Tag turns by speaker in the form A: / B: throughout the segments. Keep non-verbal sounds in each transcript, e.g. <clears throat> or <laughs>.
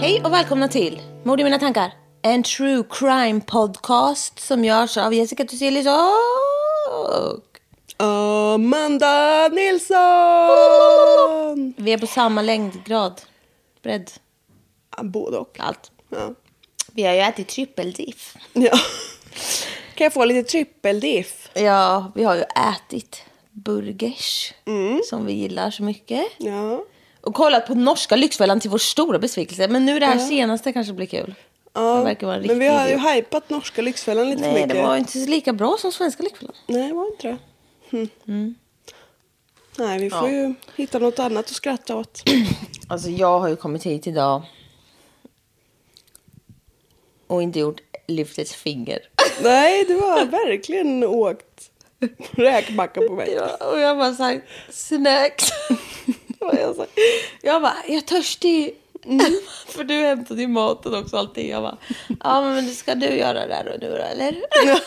A: Hej och välkomna till Mord i mina tankar. En true crime podcast som görs av Jessica Thyselius och...
B: Amanda Nilsson!
A: Vi är på samma längdgrad, bredd,
B: Både och.
A: allt.
B: Ja.
A: Vi har ju ätit trippeldiff.
B: ja. Kan jag få lite trippeldiff?
A: Ja, vi har ju ätit burgers som vi gillar så mycket.
B: Ja.
A: Och kollat på norska Lyxfällan till vår stora besvikelse. Men nu det här senaste kanske blir kul.
B: ja.
A: Det verkar vara en
B: Men vi
A: riktig
B: har ju
A: idiot.
B: hypat norska Lyxfällan lite för
A: Nej,
B: mycket.
A: det var inte lika bra som svenska Lyxfällan.
B: Nej, det var inte det. Hm.
A: Mm.
B: Nej, vi får ju hitta något annat att skratta åt. <clears throat>
A: Alltså jag har ju kommit hit idag. Och inte gjort lyft ett finger.
B: Nej, du
A: <laughs>
B: har verkligen åkt räkmacka på
A: <laughs>
B: mig.
A: Ja, och jag bara såhär,
B: <laughs>
A: snacks. Och jag, så här, jag bara, jag är törstig. <laughs> För du hämtade ju maten också och allting. Jag bara, ja men ska du göra det här och nu då eller?
B: <laughs>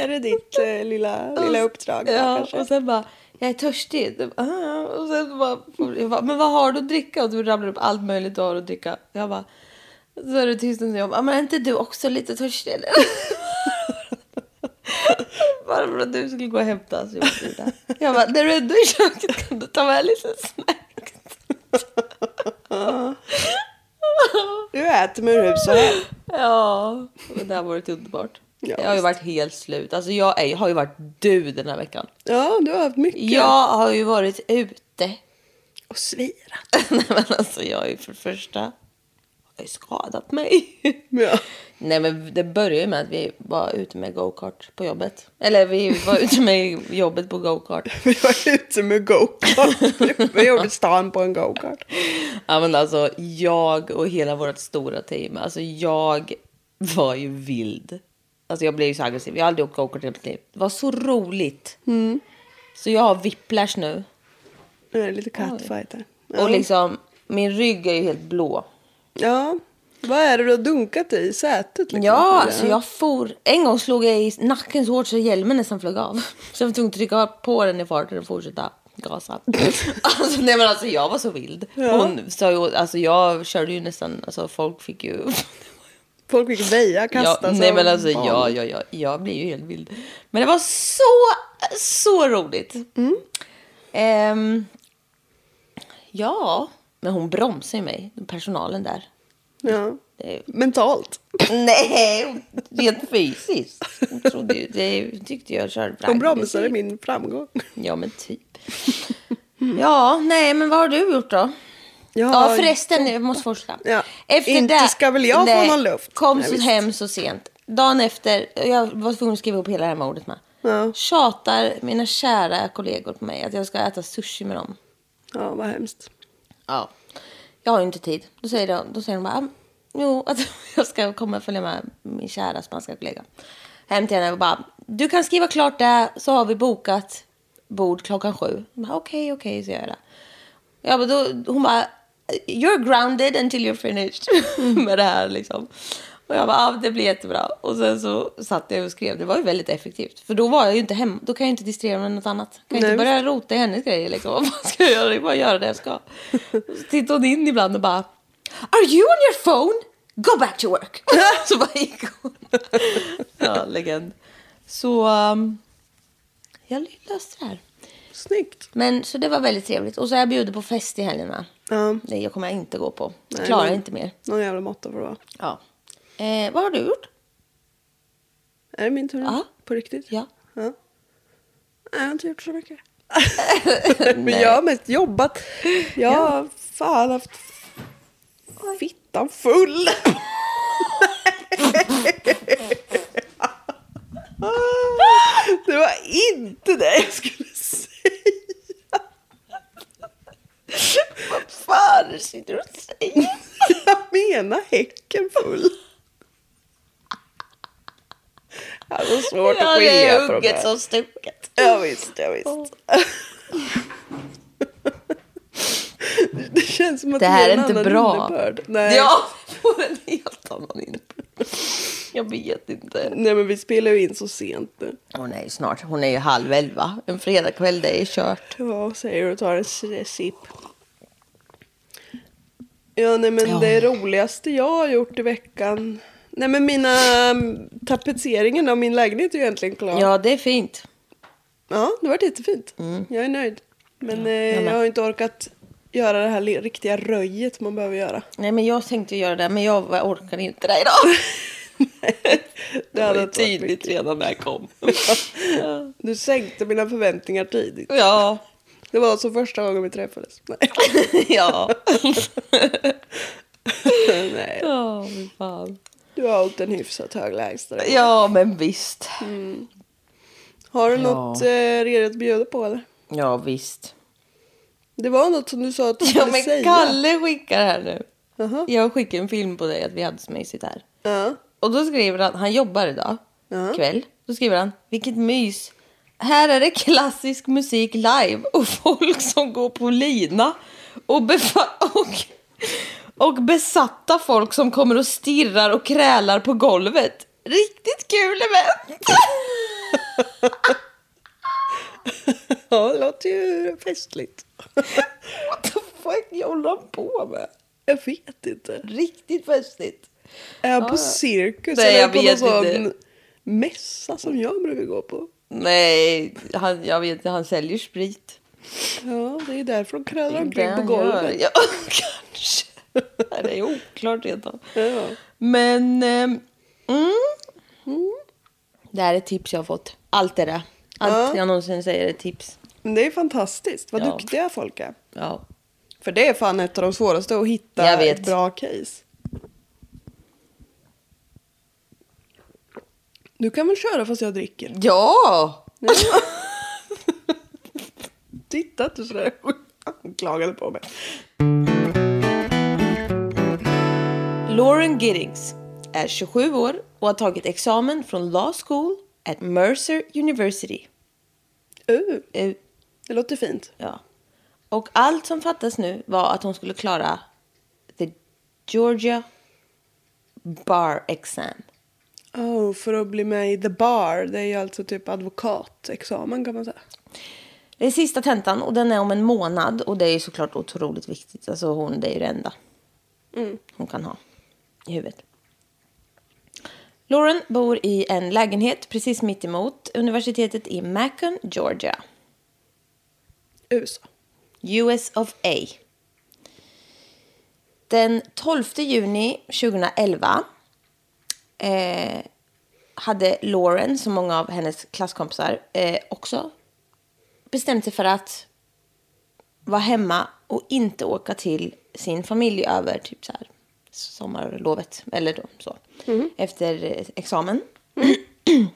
B: Är det ditt eh, lilla, lilla uppdrag? då,
A: Ja,
B: kanske?
A: och sen bara, jag är törstig. Du bara, "Ah." Och sen bara, jag bara, men vad har du att dricka? Och du ramlar upp allt möjligt du har att dricka. Jag bara, så är det tyst och jag bara, "Ah, men är inte du också lite törstig eller? <laughs> bara för att du skulle gå och hämta. Så jag, bara, jag bara, när du ändå är i köket kan du ta med lite snacks.
B: Du äter med
A: <gasps>
B: hur så här.
A: <laughs> Ja, men det har varit underbart.
B: Ja,
A: jag har ju
B: visst.
A: varit helt slut. Alltså jag är, har ju varit du den här veckan.
B: Ja, du har haft mycket.
A: Jag har ju varit ute
B: Och svira.
A: <laughs> Nej men alltså jag är ju för det första jag har ju skadat mig. <laughs>
B: Ja.
A: Nej men det började ju med att vi var ute med go-kart på jobbet. Eller vi var ute med jobbet på go-kart.
B: Vi var ute med go-kart. <laughs> Vi gjorde stan på en go-kart.
A: Ja men alltså jag och hela vårt stora team. Alltså jag var ju vild. Alltså jag blev ju så aggressiv. Jag har aldrig åkt go-kart i hela mitt liv. Det var så roligt. Så jag har whiplash nu.
B: Nu är det lite catfighter. Ja.
A: Och liksom min rygg är ju helt blå.
B: ja. Vad är det du har dunkat i? Sätet? Liksom?
A: Ja, alltså jag for. En gång slog jag i nacken så hårt så hjälmen nästan flög av. <laughs> Så jag var tvungen att trycka på den i farten och fortsätta gasa. Alltså, nej men alltså jag var så vild. Hon sa ju, alltså jag körde ju nästan, alltså folk fick ju...
B: Folk fick väja,
A: Ja,
B: kasta
A: nej men alltså ja, ja, ja, jag blir ju helt vild. Men det var så, så roligt. Ehm, ja, men hon bromsade ju mig, personalen där.
B: ja.
A: Det-
B: Mentalt.
A: Nej,
B: <laughs>
A: rent fysiskt. Hon trodde ju, det tyckte jag körde
B: De bromsade min framgång.
A: Ja, men typ. Ja, nej, men vad har du gjort då?
B: Jag
A: <laughs> Ja,
B: har-
A: förresten, jag måste fortsätta.
B: Ja, inte ska väl jag få någon luft?
A: Kom
B: Nej,
A: så
B: visst.
A: hem så sent. Dagen efter, jag var tvungen att skriva upp hela det här med ordet med. Tjatar mina kära kollegor på mig att jag ska äta sushi med dem.
B: Ja, vad hemskt.
A: Ja. Jag har ju inte tid. Då säger de, då säger de bara, "Ah, <laughs> jo, att jag ska komma och följa med min kära spanska kollega. Hem till henne och bara, du kan skriva klart det så har vi bokat bord klockan sju. Jag bara, Okej, okej, så gör jag det. Ja, men då, hon bara, you're grounded until you're finished <laughs> med det här liksom. Och jag bara, ah, det blir jättebra. Och sen så satt jag och skrev, det var ju väldigt effektivt. För då var jag ju inte hemma, då kan jag ju inte distrahera mig med något annat. Kan jag inte
B: Nej,
A: börja rota i hennes grejer liksom. <laughs> Vad ska jag göra? Jag bara göra det jag ska. Så tittade hon in ibland och bara, are you on your phone? Go back to work. <laughs> så bara gick hon. ja, legend. Så um, jag löste det här.
B: Snyggt.
A: Men så det var väldigt trevligt. Och så har jag bjudit på fest i helgerna.
B: Ja.
A: Nej, jag kommer jag inte gå på. Jag klarar
B: någon-
A: inte mer.
B: Någon jävla måtta får det vara.
A: Ja. Eh, vad har du gjort?
B: Är det min tur nu?
A: Ja.
B: På riktigt?
A: Ja.
B: Nej, jag har inte gjort
A: <laughs>
B: så mycket. Men jag har mest jobbat. Jag har fan haft
A: <laughs>
B: fittan full. Det var inte det jag skulle säga. Vad fan sitter du och säger?
A: <laughs>
B: Jag menar häcken full. Det var svårt att skilja på de
A: hugget
B: där.
A: som stucket.
B: Ja, visst, ja, visst. Det känns som att
A: Det här
B: ger
A: är
B: en
A: inte
B: annan
A: bra.
B: Innebörd. Nej.
A: Ja, det får en helt annan innebörd. Jag vet inte.
B: Nej, men vi spelar ju in så sent nu.
A: Hon är ju snart, hon är ju halv elva. En fredagkväll, det är kört.
B: Ja, säger du och tar en si- sipp. Ja, nej, men
A: Ja.
B: det roligaste jag har gjort i veckan. Nej, men mina mm, tapetseringen av min lägenhet är ju egentligen klar.
A: Ja, det är fint.
B: Ja, det har varit jättefint. Jag är nöjd. Men eh,
A: jag med.
B: jag har inte orkat göra det här li- riktiga röjet man behöver göra.
A: Nej, men jag tänkte göra det, men jag orkar inte det <laughs> idag.
B: Det
A: var
B: hade
A: ju
B: inte varit
A: tydligt redan när jag kom.
B: Du sänkte mina förväntningar tidigt.
A: ja,
B: Det var så första gången vi träffades. <laughs> Nej,
A: ja.
B: Nej.
A: Ja, fy fan.
B: du har hållit en hyfsat hög lägsta.
A: Ja, men visst.
B: Har du
A: Ja.
B: något eh, redigt att bjuda på eller?
A: Ja, visst.
B: Det var något som du sa att du skulle
A: Ja, men
B: säga.
A: Kalle skickar här nu.
B: Jaha.
A: Jag skickade en film på dig att vi hade så mysigt här.
B: Ja.
A: Och då skriver han, han jobbar idag
B: Ja.
A: kväll. Då skriver han, vilket mys. Här är det klassisk musik live och folk som går på lina. Och, befa- och, och besatta folk som kommer och stirrar och krälar på golvet. Riktigt kul event!
B: ja, det låter ju festligt.
A: <laughs> What the fuck håller han på med?
B: Jag vet inte.
A: Riktigt festligt.
B: Är jag
A: ja.
B: på cirkus
A: Nej,
B: eller
A: jag
B: på
A: vet
B: någon
A: inte.
B: sån mässa som jag brukar gå på?
A: Nej, han, jag vet inte, han säljer sprit.
B: Ja, det är därför de krälar
A: Det är
B: omkring
A: det
B: på
A: han gör.
B: golvet.
A: Ja, <laughs> kanske. Det är oklart redan.
B: Ja.
A: Men... ehm, mm. Det här är ett tips jag har fått. Allt är det. Allt
B: Ja.
A: jag någonsin säger är tips.
B: Men det är fantastiskt. Vad
A: Ja.
B: duktiga folk är.
A: Ja.
B: För det är fan ett av de svåraste att hitta
A: Jag vet.
B: ett bra case. Du kan väl köra fast jag dricker?
A: Ja!
B: Titta att du sådär Hon klagade på mig.
A: Lauren Giddings är 27 år och har tagit examen från Law School at Mercer University.
B: Uh,
A: Eh,
B: det låter fint.
A: Ja. Och allt som fattas nu var att hon skulle klara the Georgia Bar Exam.
B: Oh, för att bli med i The Bar, det är ju alltså typ advokatexamen kan man säga.
A: Det är sista tentan och den är om en månad och det är ju såklart otroligt viktigt. Alltså hon, det är ju det enda hon kan ha i huvudet. Lauren bor i en lägenhet precis mitt emot universitetet i Macon, Georgia.
B: USA.
A: US of A. Den 12 juni 2011 eh, hade Lauren, som många av hennes klasskompisar eh, också, bestämt sig för att vara hemma och inte åka till sin familj över typ så här, sommarlovet eller då, så, efter eh, examen. <clears throat>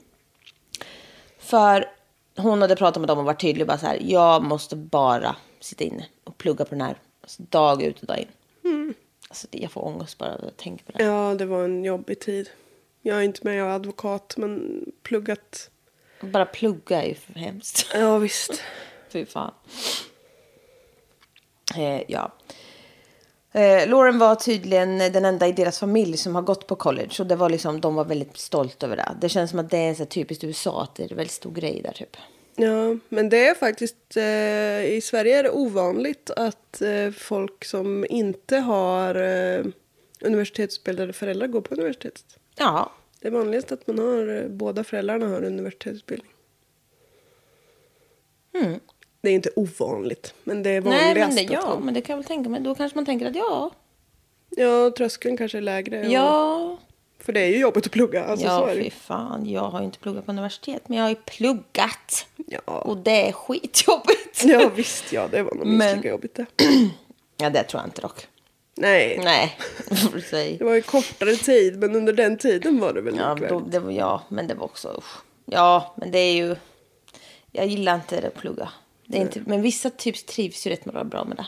A: För hon hade pratat med dem och varit tydlig bara så här, jag måste bara sitta inne och plugga på den här. Alltså, dag ut och dag in. Alltså, det- jag får ångest bara av att tänka på det.
B: Ja, det var en jobbig tid. Jag är inte med, jag är advokat, men pluggat
A: Bara plugga är ju hemskt. <laughs>
B: Ja, visst.
A: Fy fan. Eh, ja. Eh, Lauren var tydligen den enda i deras familj som har gått på college. Och det var liksom, de var väldigt stolta över det. Det känns som att det är så här typiskt USA, att det är en väldigt stor grej där typ.
B: Ja, men det är faktiskt eh, i Sverige är det ovanligt att eh, folk som inte har eh, universitetsutbildade föräldrar går på universitetet.
A: Ja,
B: Det är vanligast att man har eh, båda föräldrarna har universitetsutbildning. Det är inte ovanligt, men det är
A: Mm. Nej,
B: vanligast.
A: men det,
B: att
A: ja,
B: man,
A: men det kan jag väl tänka mig. Då kanske man tänker att ja,
B: ja, tröskeln kanske är lägre. och-
A: ja,
B: För det är ju jobbigt att plugga. Alltså, så
A: ja,
B: är det.
A: fy
B: ju.
A: fan. Jag har ju inte pluggat på universitet, men jag har ju pluggat.
B: Ja.
A: Och det är skitjobbigt.
B: <laughs> ja, visst ja, det var nog minst
A: Men-
B: lika jobbigt det.
A: <laughs> Ja, det tror jag inte dock.
B: Nej. <laughs>
A: Nej, får du säga.
B: det var ju kortare tid, men under den tiden var det väl
A: Ja,
B: likvärdigt.
A: då, det var, ja, men det var också... Usch. Ja, men det är ju... Jag gillar inte det att plugga. Det är inte, men vissa typ trivs ju rätt bra med det.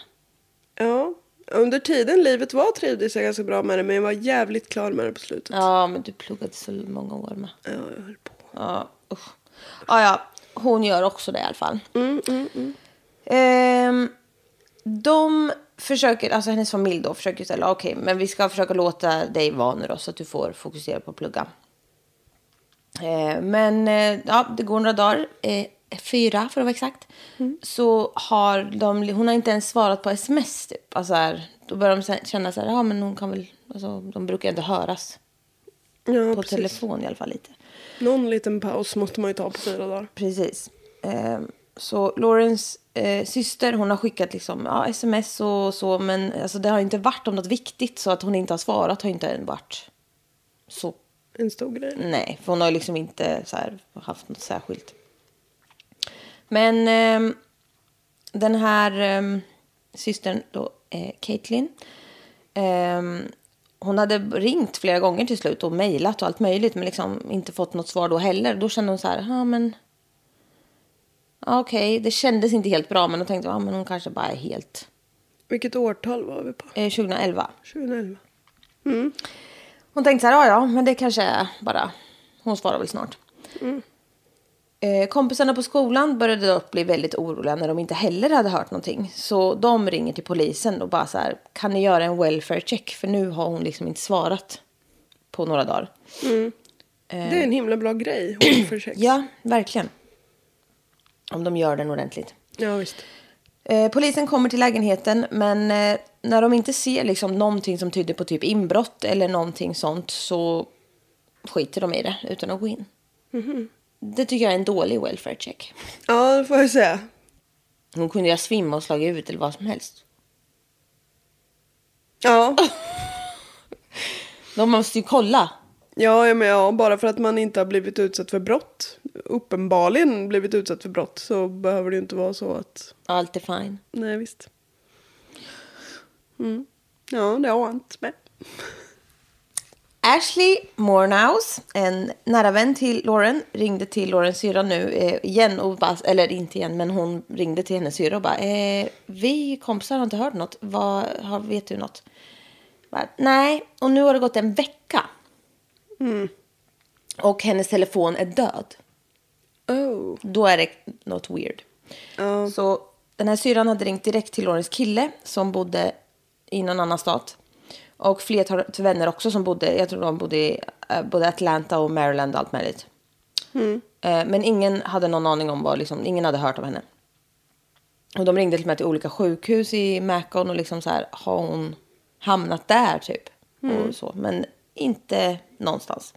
B: Ja. Under tiden livet var trivdes jag ganska bra med det men jag var jävligt klar med det på slutet.
A: Ja, men du pluggade så många år med.
B: Ja, jag höll på.
A: Ja, usch. Ja, ja, hon gör också det i alla fall.
B: Mm,
A: Ehm, de försöker, alltså hennes familj då försöker ställa, okej, men vi ska försöka låta dig vara nu då så att du får fokusera på att plugga. Eh, men eh, ja, det går några dagar, eh, fyra för att vara exakt.
B: Mm.
A: Så har de, hon har inte ens svarat på sms typ. Alltså här, då börjar de sen- känna så här, ja men hon kan väl, alltså de brukar ju ändå höras.
B: Ja,
A: På
B: precis.
A: telefon i alla fall lite.
B: Någon liten paus måste man ju ta på fyra dagar.
A: Precis. Ehm, så Laurens eh, syster hon har skickat liksom, ja, sms och så men alltså, det har ju inte varit om något viktigt så att hon inte har svarat har ju inte än varit så
B: En stor grej.
A: nej. För hon har ju liksom inte så här, haft något särskilt. Men ehm, den här ehm, systern då, eh, Caitlin. ehm, hon hade ringt flera gånger till slut och mejlat och allt möjligt. Men liksom inte fått något svar då heller. Då kände hon så här, ja men. Ja, Okej, det kändes inte helt bra. Men då tänkte jag, ja men hon kanske bara är helt.
B: Vilket årtal var vi på?
A: Eh, 2011.
B: 2011.
A: Hon tänkte så här, ja ja, men det kanske är bara, hon svarar väl snart. Eh, kompisarna på skolan började dock bli väldigt oroliga när de inte heller hade hört någonting. Så de ringer till polisen och bara så här, kan ni göra en welfare check? För nu har hon liksom inte svarat på några dagar.
B: Det är en himla bra grej. Hon
A: <clears throat>
B: försöker.
A: Ja, verkligen. Om de gör den ordentligt.
B: ja, visst.
A: Eh, polisen kommer till lägenheten men eh, när de inte ser liksom, någonting som tyder på typ inbrott eller någonting sånt så skiter de i det utan att gå in. Det tycker jag är en dålig welfare check.
B: Ja, det får jag säga.
A: Hon kunde ju ha svimmat och slagit ut eller vad som helst.
B: Ja.
A: De måste ju kolla.
B: Ja, ja, men ja, bara för att man inte har blivit utsatt för brott, uppenbarligen blivit utsatt för brott, så behöver det ju inte vara så att...
A: Allt är fine.
B: Nej, visst. Mm. Ja, det har jag inte med.
A: Ashley Mornouse, en nära vän till Lauren, ringde till Laurens syra nu eh, igen. Och bara, eller inte igen, men hon ringde till hennes syra och bara eh, Vi kompisar har inte hört något. Vad, har, vet du något? Bara, Nej, och nu har det gått en vecka. Och hennes telefon är död.
B: Oh.
A: Då är det något weird.
B: Ja.
A: Så den här syran hade ringt direkt till Lorens kille som bodde i någon annan stat. Och flertalet vänner också som bodde, jag tror de bodde i eh, både Atlanta och Maryland och allt möjligt. Eh, Men ingen hade någon aning om vad, liksom, ingen hade hört om henne. Och de ringde till och med till olika sjukhus i Macon och liksom så här, har hon hamnat där typ? Och så, men inte någonstans.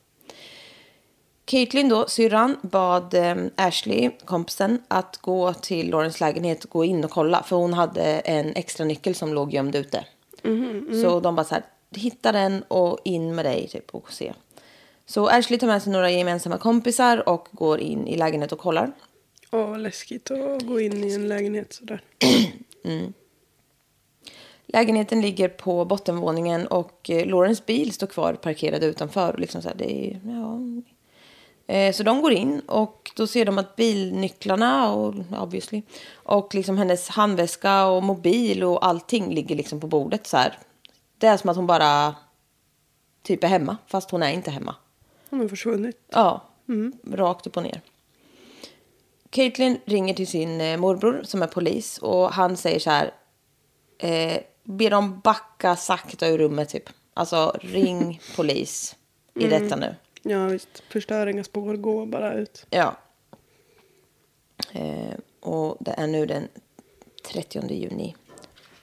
A: Caitlyn då, syrran, bad eh, Ashley, kompisen, att gå till Laurens lägenhet och gå in och kolla. För hon hade en extra nyckel som låg gömd ute. Så de bara så här, hitta den och in med dig typ och se. Så Ashley tar med sig några gemensamma kompisar och går in i lägenhet och kollar.
B: Åh, vad läskigt att gå in i en lägenhet sådär.
A: Lägenheten ligger på bottenvåningen och eh, Laurens bil står kvar parkerad utanför. Och liksom så, här, det är, ja. Eh, så de går in och då ser de att bilnycklarna och, obviously, och liksom hennes handväska och mobil och allting ligger liksom på bordet. Så här. Det är som att hon bara typ är hemma fast hon är inte hemma.
B: Hon har försvunnit.
A: Ja, rakt upp och ner. Caitlyn ringer till sin eh, morbror som är polis och han säger så här. Eh, be dem backa sakta ur rummet typ. Alltså ring polis i detta nu.
B: Ja, visst. Förstör inga spår, gå bara ut.
A: Ja. Eh, och det är nu den 30 juni.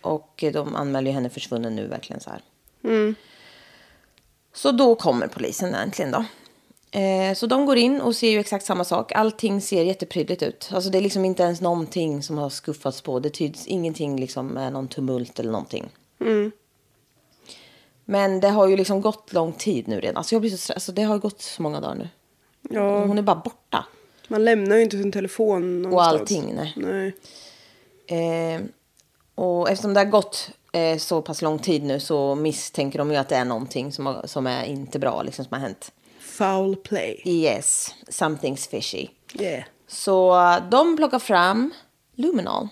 A: Och eh, de anmäler ju henne försvunnen nu verkligen så här. Så då kommer polisen äntligen då. Eh, så de går in och ser ju exakt samma sak. Allting ser jätteprydligt ut. Alltså det är liksom inte ens någonting som har skuffats på. Det tyds ingenting liksom med någon tumult eller någonting. Men det har ju liksom gått lång tid nu redan. Alltså jag blir så stressad. Alltså det har gått så många dagar nu.
B: Ja,
A: Hon är bara borta.
B: man lämnar ju inte sin telefon någonstans.
A: allting, nej.
B: nej.
A: Eh, och eftersom det har gått eh, så pass lång tid nu så misstänker de ju att det är någonting som, har, som är inte bra liksom, som har hänt.
B: Foul play.
A: Yes, something's fishy.
B: Yeah.
A: Så eh, de plockar fram Luminol.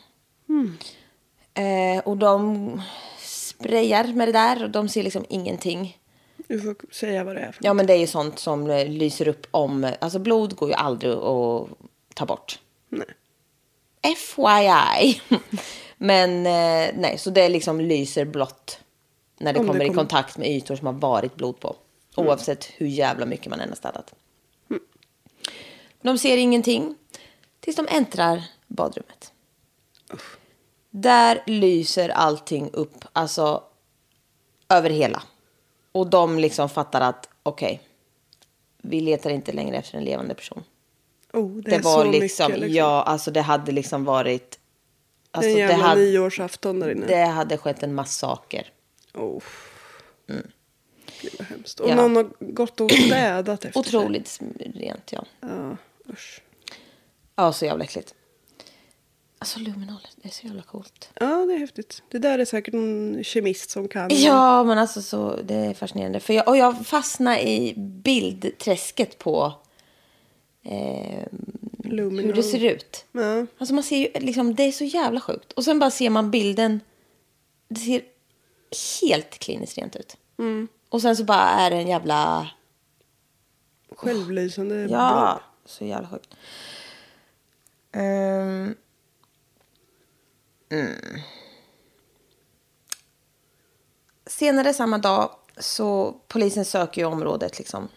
A: Eh, och de sprayar med det där och de ser liksom ingenting.
B: Du får säga vad det är för
A: Ja men det är ju sånt som eh, lyser upp om, alltså blod går ju aldrig att ta bort.
B: Nej.
A: FYI. <laughs> Men eh, nej, så det liksom lyser blått när det
B: Om det
A: kommer i
B: kommer- Mm.
A: kontakt med ytor som har varit blod på. Oavsett hur jävla mycket man än har städat. De ser ingenting tills de äntrar badrummet. Där lyser allting upp, alltså över hela. Och de liksom fattar att okej, vi letar inte längre efter en levande person
B: Oh, det,
A: det,
B: är
A: var
B: så
A: liksom,
B: mycket. Liksom.
A: ja, alltså det hade liksom varit,
B: det är
A: alltså
B: en
A: det
B: jävla
A: hade,
B: nyårsafton där inne.
A: det hade skett en massaker.
B: Oh. Gud vad hemskt. Och
A: Mm. Ja.
B: någon har gått och städat efter sig.
A: Otroligt sm- rent, ja.
B: Ja, usch.
A: Ja, så jävla äckligt. Alltså luminoler, det är så jävla coolt.
B: Ja, det är häftigt. Det där är säkert en kemist som kan.
A: Ja, men alltså så, det är fascinerande. För jag, och jag fastnade i bildträsket på eh,
B: Luminol.
A: hur det ser ut.
B: Ja.
A: Alltså man ser ju, liksom, det är så jävla sjukt. Och sen bara ser man bilden. Det ser helt kliniskt rent ut. Och sen så bara är det en jävla...
B: Självlysande
A: Ja,
B: blob.
A: så jävla sjukt. Ehm. Mm. Senare samma dag så polisen söker ju området liksom.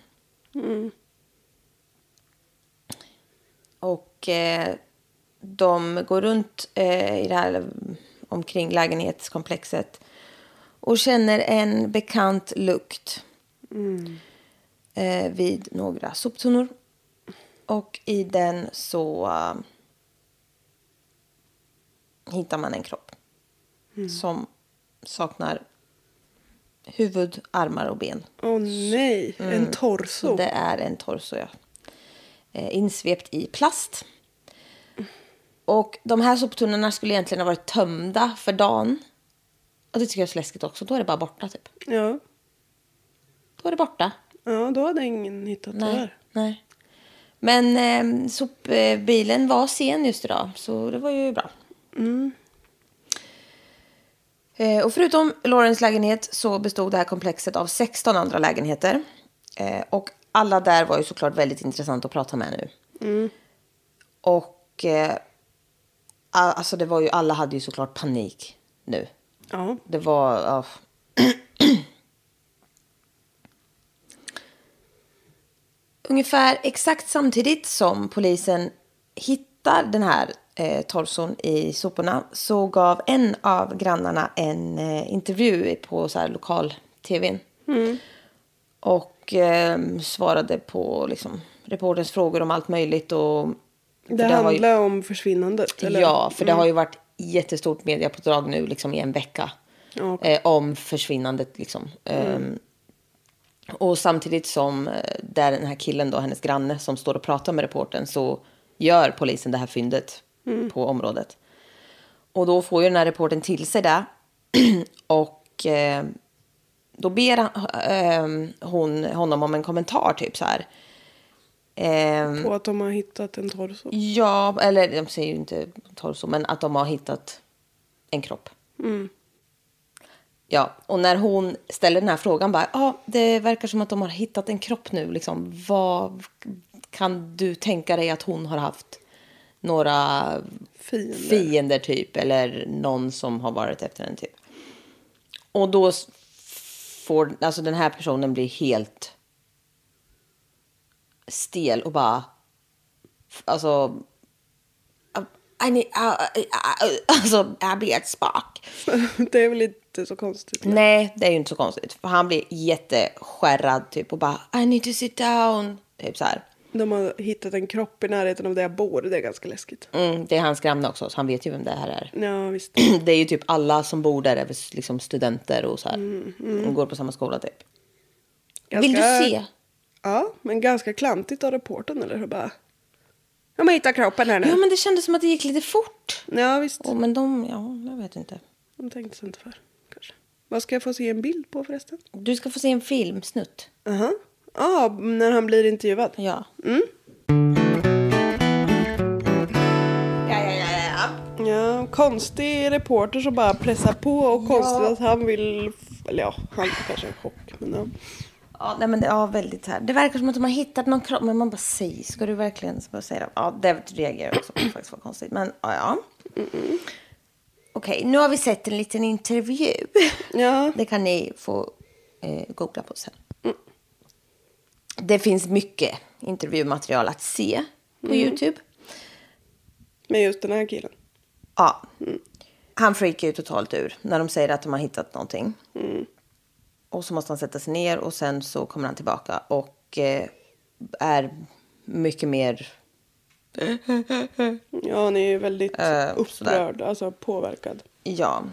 A: Och eh, de går runt eh, i det här omkring lägenhetskomplexet och känner en bekant lukt eh, vid några soptunnor. Och i den så eh, hittar man en kropp
B: Mm.
A: som saknar huvud, armar och ben. Mm.
B: Åh nej, en
A: Så
B: torso.
A: det är en torso, ja. Eh, insvept i plast. Och de här soptunnorna skulle egentligen ha varit tömda för dagen. Och det tycker jag är så läskigt också. Då är det bara borta, typ.
B: Ja.
A: Då är det borta.
B: ja, då hade ingen hittat det
A: Nej.
B: där.
A: nej. Men eh, sopbilen var sen just idag, så det var ju bra. Eh, och förutom Laurens lägenhet så bestod det här komplexet av 16 andra lägenheter. Eh, och alla där var ju såklart väldigt intressant att prata med nu. Och eh, a- alltså det var ju, alla hade ju såklart panik nu.
B: Ja,
A: Det var... ja. <clears throat> Ungefär exakt samtidigt som polisen hittar den här eh, torson i soporna så gav en av grannarna en eh, intervju på så här, lokal-tvn.
B: Mm.
A: Och eh, svarade på liksom, reporterns frågor om allt möjligt. Och,
B: det,
A: för har ju-
B: handlar om försvinnandet. Eller? Mm.
A: Ja, för det har ju varit jättestort mediapådrag nu liksom i en vecka.
B: Ja. Mm.
A: Eh, om försvinnandet liksom. Ehm, och samtidigt som eh, där den här killen då, hennes granne som står och pratar med reportern så gör polisen det här fyndet
B: Mm.
A: på området. Och då får ju den här reportern till sig det. <clears throat> och eh, då ber han, ehm, hon honom om en kommentar typ så här. Ehm,
B: På att de har hittat en torso.
A: Ja, eller de säger ju inte torso, men att de har hittat en kropp. Ja, och när hon ställer den här frågan bara, ja, det verkar som att de har hittat en kropp nu, liksom. Vad kan du tänka dig att hon har haft några
B: Fiender.
A: fiender typ. Eller någon som har varit efter en typ. Och då s- får, alltså den här personen blir helt stel och bara, alltså, I need, uh, I- I- I- alltså, jag blir ett spak.
B: <laughs> Det är väl inte så konstigt.
A: Nej, det är ju inte så konstigt. För han blir jätteskärrad typ och bara, I need to sit down. Typ så här.
B: De har hittat en kropp i närheten av där jag bor. Det är ganska läskigt.
A: Mm, det är hans granne också, så han vet ju vem det här är. <clears throat>
B: Ja, visst.
A: det är ju typ alla som bor där är liksom studenter och så här. Och går på samma skola typ.
B: Ganska-
A: Vill du se?
B: Ja, men ganska klantigt av reportern eller hur? Bara... De har hittat kroppen här nu.
A: Ja, men det kändes som att det gick lite fort.
B: Ja, visst.
A: Oh, men de, ja, jag vet inte.
B: De tänkte sig inte för. Kanske. Vad ska jag få se en bild på förresten?
A: Du ska få se en filmsnutt.
B: Aha. Ja, när han blir intervjuad.
A: Ja.
B: Mm.
A: Ja, ja, ja, ja.
B: Ja, konstig reporter som bara pressar på och konstigt att han vill... Eller ja, han får kanske en chock. Men ja.
A: Ja, nej, men det, ja, väldigt här. Det verkar som att de har hittat någon kropp, men man bara säger, ska du verkligen så bara säga det? Ja, det reagerar jag också på, faktiskt var konstigt, men ja. ja. Okej, nu har vi sett en liten intervju.
B: Ja.
A: Det kan ni få eh, googla på sen. Det finns mycket intervjumaterial att se på YouTube.
B: Men just den här killen.
A: Ja. Han freakar ju totalt ur när de säger att de har hittat någonting. Och så måste han sätta sig ner och sen så kommer han tillbaka och eh, är mycket mer...
B: Ja, han är ju väldigt
A: Eh,
B: upprörd, alltså påverkad.
A: Ja.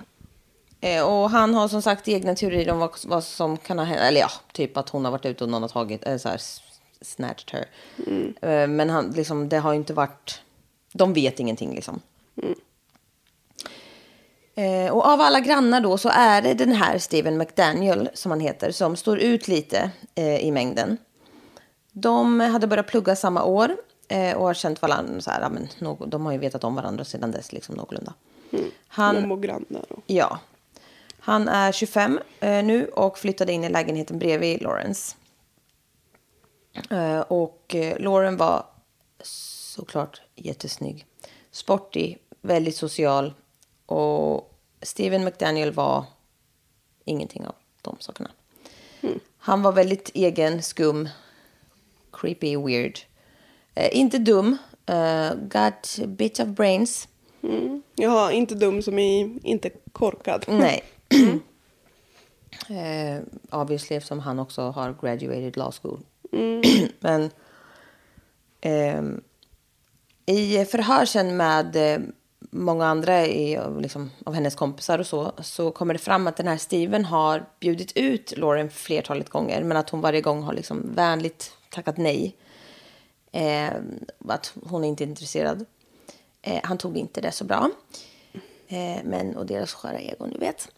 A: Eh, och han har som sagt egna teorier om vad, vad som kan ha hänt. Eller ja, typ att hon har varit ute och någon har tagit, eller så här, s- snatched her. Eh, men han, liksom, det har ju inte varit... De vet ingenting liksom. Eh, och av alla grannar då så är det den här Steven McDaniel, som han heter, som står ut lite eh, i mängden. De hade börjat plugga samma år eh, och har känt varandra så här, ja, men, någ- de har ju vetat om varandra sedan dess liksom någorlunda. Han,
B: Mom och grannar. Och...
A: Ja. Han är 25 eh, nu och flyttade in i lägenheten bredvid Lawrence. Eh, och eh, Lauren var såklart jättesnygg. Sportig, väldigt social och Steven McDaniel var ingenting av de sakerna. Han var väldigt egen, skum, creepy, weird. Eh, inte dum, eh, got a bit of brains.
B: Jaha, inte dum som i inte korkad.
A: Nej. <clears throat> eh, obviously eftersom han också har graduated law school. <clears throat> Men ehm, i förhör sen med eh, många andra i, av liksom, av hennes kompisar och så, så kommer det fram att den här Steven har bjudit ut Lauren flertalet gånger, men att hon varje gång har liksom vänligt tackat nej. Eh, att hon är inte är intresserad. Eh, han tog inte det så bra. Eh, men, och deras sköra egon, du vet.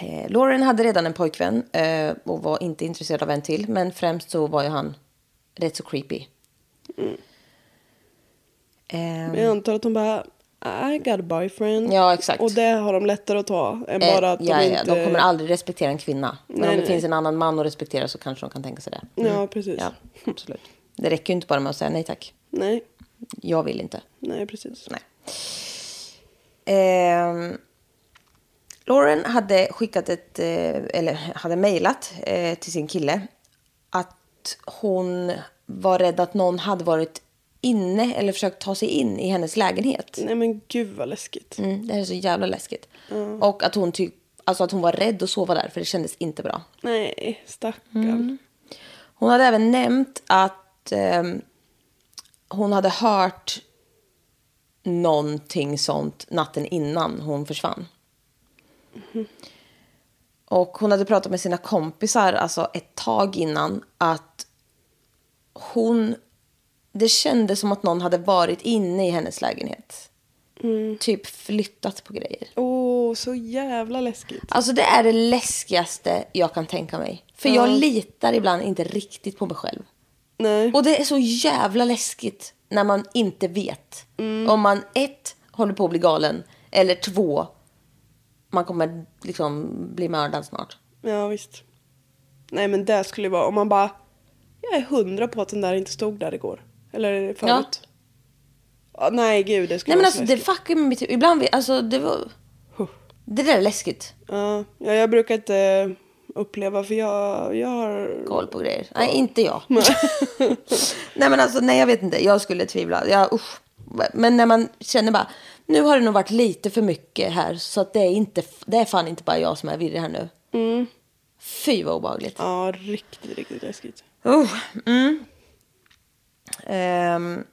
A: eh, Lauren hade redan en pojkvän eh, och var inte intresserad av en till. Men främst så var ju han rätt så creepy. Ehm,
B: Mm. Men jag antar att de bara, I got a boyfriend.
A: Ja, exakt.
B: Och det har de lättare att ta än
A: Eh,
B: bara att de
A: ja, ja,
B: inte...
A: de kommer aldrig respektera en kvinna. Men
B: Nej,
A: om det
B: nej.
A: finns en annan man att respektera så kanske de kan tänka sig det.
B: Ja, precis.
A: Ja, absolut. Det räcker ju inte bara med att säga nej tack.
B: Nej,
A: Jag vill inte.
B: nej precis.
A: Nej. Ehm, Lauren hade skickat ett, eh, eller hade mejlat eh, till sin kille att hon var rädd att någon hade varit inne eller försökt ta sig in i hennes lägenhet.
B: Nej men gud vad läskigt.
A: Mm, det här är så jävla läskigt. Och att hon, typ, alltså att hon var rädd att sova där för det kändes inte bra.
B: Nej, stackarn.
A: Mm. Hon hade även nämnt att ehm, hon hade hört någonting sånt natten innan hon försvann. Och hon hade pratat med sina kompisar alltså ett tag innan att hon... Det kändes som att någon hade varit inne i hennes lägenhet. Typ flyttat på grejer.
B: Åh, så jävla läskigt.
A: Alltså det är det läskigaste jag kan tänka mig. För jag litar ibland inte riktigt på mig själv.
B: Nej.
A: Och det är så jävla läskigt när man inte vet. Om man ett, håller på att bli galen. Eller två, man kommer liksom bli mördad snart.
B: Ja, visst. Nej men det skulle ju vara om man bara, jag är hundra på att den där inte stod där igår. Eller förut? Ja. nej, gud. Det
A: Nej
B: skulle
A: men
B: vara
A: alltså
B: så
A: det
B: läskigt.
A: fuckar med mitt huvud. Ibland, vi- alltså det var... Det där är läskigt.
B: Ja, ja, jag brukar inte eh, uppleva för jag, jag har...
A: Koll på grejer. Nej, inte jag. <laughs> nej men alltså, nej jag vet inte. Jag skulle tvivla. Jag, usch. Men när man känner bara, nu har det nog varit lite för mycket här. Så att det är inte, det är fan inte bara jag som är virrig här nu. Mm. Fy vad obehagligt.
B: Ja, riktigt, riktigt läskigt.
A: Oh, mm. Ehm.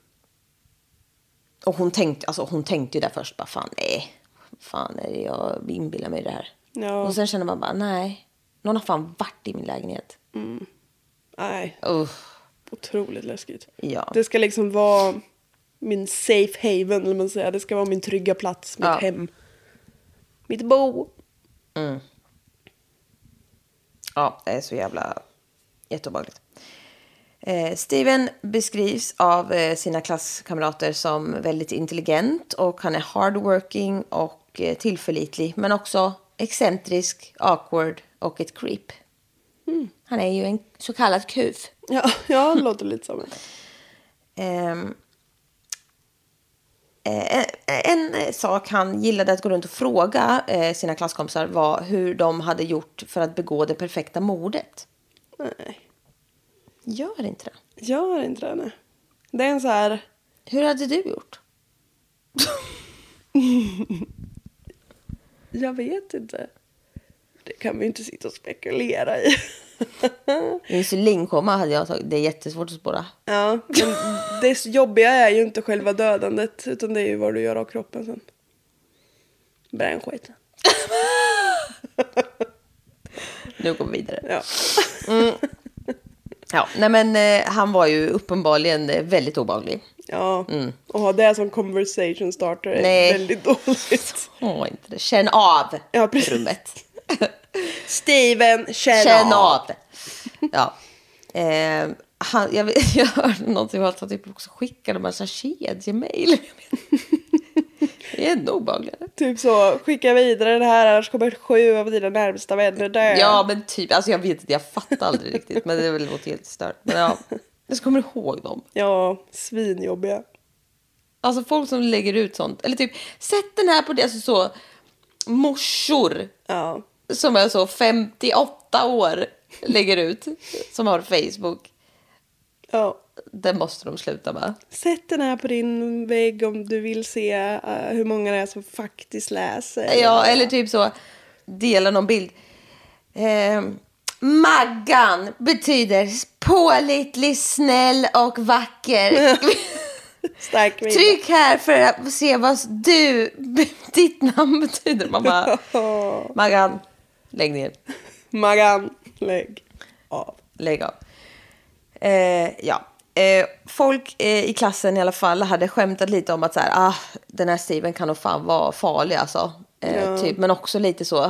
A: och hon tänkte, alltså, hon tänkte ju där först bara fan nej. Fan är det jag inbillar mig det här.
B: Ja.
A: Och sen känner man bara nej. Någon har fan varit i min lägenhet.
B: Nej,
A: Uh,
B: otroligt läskigt.
A: ja.
B: Det ska liksom vara min safe haven, eller man säger. Det ska vara min trygga plats, mitt
A: Ja.
B: hem. Mitt bo.
A: ja, det är så jävla jätteobehagligt. Eh, Steven beskrivs av eh, sina klasskamrater som väldigt intelligent och han är hardworking och eh, tillförlitlig. Men också excentrisk, awkward och ett creep.
B: Mm.
A: Han är ju en så kallad kuf.
B: Ja, <laughs> ja det låter lite som
A: Ehm, eh, en eh, sak han gillade att gå runt och fråga eh, sina klasskompisar var hur de hade gjort för att begå det perfekta mordet.
B: Nej,
A: Gör inte det.
B: gör inte det. Nej. Det är en så här...
A: Hur hade du gjort?
B: Jag vet inte. Det kan vi ju inte sitta och spekulera i. <laughs>
A: Insulinkoma hade jag tagit. Det är jättesvårt att spåra.
B: Ja, men det jobbiga är ju inte själva dödandet utan det är ju vad du gör av kroppen sen. Bränn skiten.
A: Nu går vi vidare.
B: Ja.
A: Ja, nej men eh, han var ju uppenbarligen eh, väldigt obehaglig.
B: ja. Och ha det som conversation starter är
A: Mm. Nej.
B: väldigt dåligt.
A: Åh, inte det. Känn av
B: Ja, precis.
A: rummet.
B: Steven, känn,
A: Känn
B: av.
A: av. Ja. Eh, han, jag, vet- <laughs> jag hörde någonting om att han typ också skickade en massa kedjemail. <laughs> Det är ännu obehagligare.
B: Typ så, skicka vidare det här annars kommer sju av dina närmsta vänner dö.
A: Ja, men typ. Alltså jag vet inte, jag fattar aldrig riktigt. Men det låter helt stört. Men ja, jag ska komma ihåg dem.
B: ja svinjobbiga.
A: Alltså folk som lägger ut sånt. Eller typ, sätt den här på det. Alltså så morsor
B: Ja.
A: som är så 58 år lägger ut. Som har Facebook.
B: ja.
A: Det måste de sluta med.
B: Sätt den här på din vägg om du vill se eh, hur många det är som faktiskt läser.
A: Ja, eller typ så dela någon bild. Eh, Maggan betyder pålitlig, snäll och vacker.
B: Stark kvinna.
A: Tryck här för att se vad du, <laughs> ditt namn betyder. Man bara, Maggan, lägg ner.
B: Maggan, lägg av.
A: Lägg av. Eh, ja. Eh, folk eh, i klassen i alla fall hade skämtat lite om att så här, ah, den här Steven kan nog fan vara farlig alltså. Eh, typ, men också lite så, ah,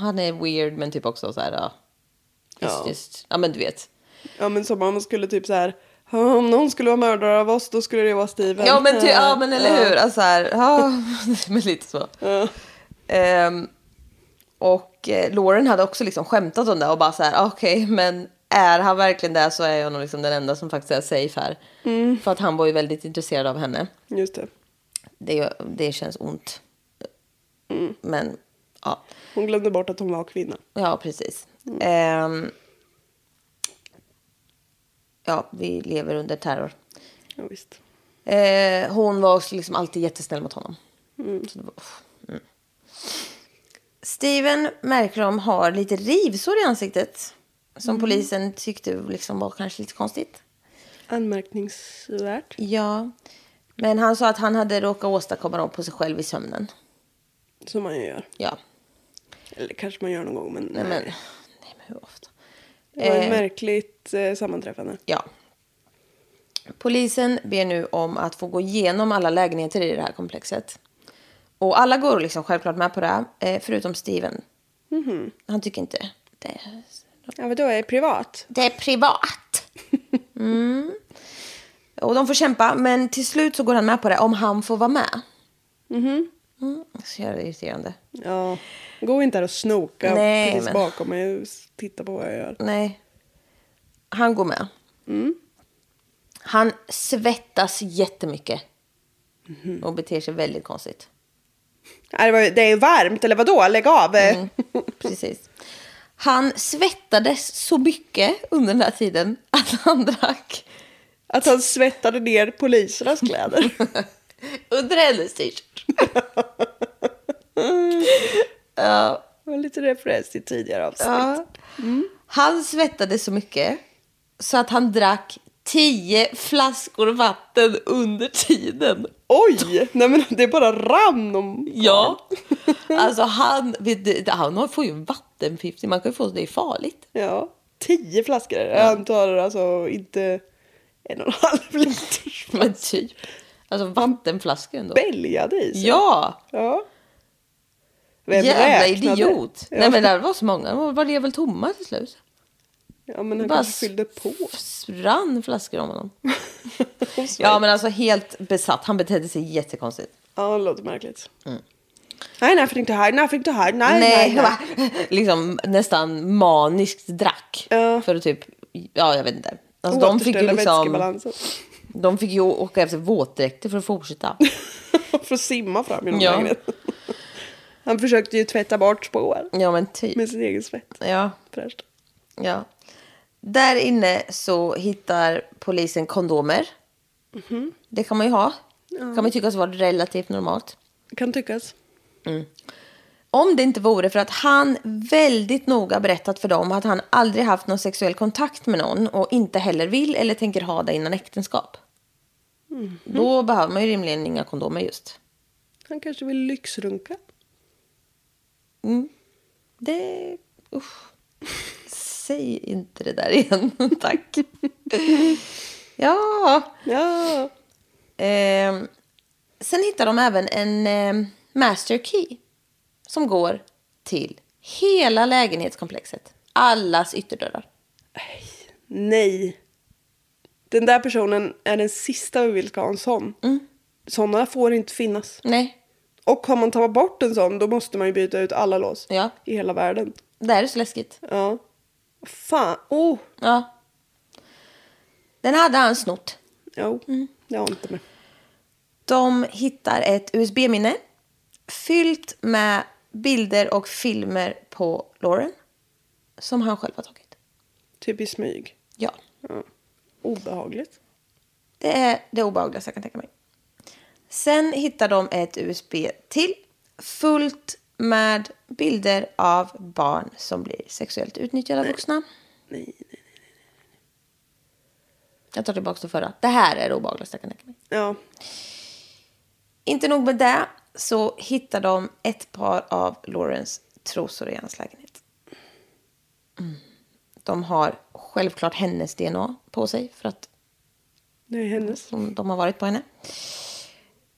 A: han är weird men typ också så här, ah, just,
B: Ja.
A: just, ja men du vet.
B: Ja men som om man skulle typ så här. "Ja, Om någon skulle vara mördare av oss då skulle det vara Steven.
A: Ja men, ty, ja, men eller hur, alltså här, ah, <laughs> men lite så. Ehm, och eh, Lauren hade också liksom skämtat om det och bara så här, "Ah, okej, men är han verkligen där så är jag nog liksom den enda som faktiskt är safe här. För att han var ju väldigt intresserad av henne.
B: Just det.
A: Det, gör- det känns ont. Men, ja.
B: Hon glömde bort att hon var kvinna.
A: Ja, precis. Ehm, ja, vi lever under terror.
B: Ja, visst.
A: Eh, hon var också liksom alltid jättesnäll mot honom. Så det var, uff, mm. Steven märker att de har lite rivsår i ansiktet. Som polisen tyckte liksom var kanske lite konstigt.
B: Anmärkningsvärt.
A: Ja. Men han sa att han hade råkat åstadkomma dem på sig själv i sömnen.
B: Som man ju gör.
A: Ja.
B: Eller kanske man gör någon gång men,
A: Nej, men,
B: nej.
A: nej, men hur ofta?
B: Det var ett
A: Eh.
B: märkligt eh, sammanträffande.
A: Ja. Polisen ber nu om att få gå igenom alla lägenheter i det här komplexet. Och alla går liksom självklart med på det, här, eh, förutom Steven. Han tycker inte det.
B: Ja vadå, är det privat?
A: Det är privat. <laughs> Mm. Och de får kämpa, men till slut så går han med på det om han får vara med. Mm. Så jävla irriterande.
B: Ja. Gå inte här och snoka
A: Nej,
B: precis
A: men-
B: bakom mig och s- titta på vad jag gör. Mm.
A: Nej. Han går med. Han svettas jättemycket.
B: Mhm.
A: Och beter sig väldigt konstigt.
B: Nej, Det, var, ju- det är ju varmt, eller vadå? Lägg av!
A: Mm. Precis. Han svettades så mycket under den här tiden att han drack
B: Att han svettade ner polisernas kläder.
A: <laughs> under hennes
B: <laughs>
A: t-shirt. Ja,
B: Det var lite referens till tidigare avsnitt.
A: ja. Han svettades så mycket så att han drack tio flaskor vatten under tiden.
B: Oj! Nej men det bara rann om...
A: Ja,
B: <laughs>
A: alltså han, vet du, han får ju vattenförgiftning. Man kan ju få det är farligt. <laughs>
B: Ja, tio flaskor. Jag antar alltså inte en och en halv liters
A: <laughs> Men typ, alltså vattenflaskor ändå.
B: bälgade i sig.
A: Ja,
B: ja. Vem
A: Jävla
B: räknade?
A: idiot.
B: Ja.
A: Nej men det var så många. De var det väl tomma till slut.
B: ja men han
A: bara
B: kanske fyllde på.
A: s- rann flaskor om honom. ja men alltså helt besatt. Han betedde sig jättekonstigt.
B: Ja, det låter märkligt. Nej, nothing to hide, nothing to hide, nej, nej,
A: Mm. Nej,
B: nej.
A: han bara, <laughs> liksom nästan maniskt drack.
B: Ja.
A: För att typ, ja jag vet inte. Alltså, de fick ju
B: Återställa
A: liksom,
B: vätskebalansen. <laughs>
A: de fick ju åka efter våtdräkter för att
B: <laughs>
A: fortsätta.
B: För att simma fram genom
A: Ja.
B: lägenheten. Han försökte ju tvätta bort spår
A: Ja men typ.
B: med sin egen svett.
A: Ja,
B: Fräscht.
A: ja. Där inne så hittar polisen kondomer.
B: Mhm.
A: Det kan man ju ha. Kan man ju tyckas vara relativt normalt.
B: Kan tyckas.
A: Om det inte vore för att han väldigt noga berättat för dem att han aldrig haft någon sexuell kontakt med någon och inte heller vill eller tänker ha det innan äktenskap. Då behöver man ju rimligen inga kondomer just.
B: Han kanske vill lyxrunka.
A: Det... Usch. Säg inte det där igen, <laughs> tack. ja.
B: Ja.
A: Ehm, sen hittar de även en ehm, master key som går till hela lägenhetskomplexet. Allas ytterdörrar.
B: Nej. Den där personen är den sista vi vill ska ha en sån.
A: Mm.
B: Sådana får inte finnas.
A: Nej,
B: Och om man tar bort en sån då måste man ju byta ut alla lås.
A: Ja.
B: I hela världen.
A: det här är så läskigt.
B: Ja. Fan. Oh.
A: Ja. Den hade han snott.
B: Jo. Det har inte med.
A: De hittar ett USB-minne fyllt med bilder och filmer på Lauren som han själv har tagit.
B: Typ i smyg.
A: Ja,
B: Obehagligt.
A: det är det obehagligaste jag kan tänka mig. Sen hittar de ett USB till fullt med bilder av barn som blir sexuellt utnyttjade av vuxna. Nej, nej, nej, nej. Jag tar tillbaka det förra. Det här är det obehagligaste jag kan tänka mig.
B: Ja.
A: Inte nog med det, så hittar de ett par av Laurens trosor i hans lägenhet. Mm. De har självklart hennes DNA på sig för att
B: Det är hennes.
A: som de har varit på henne.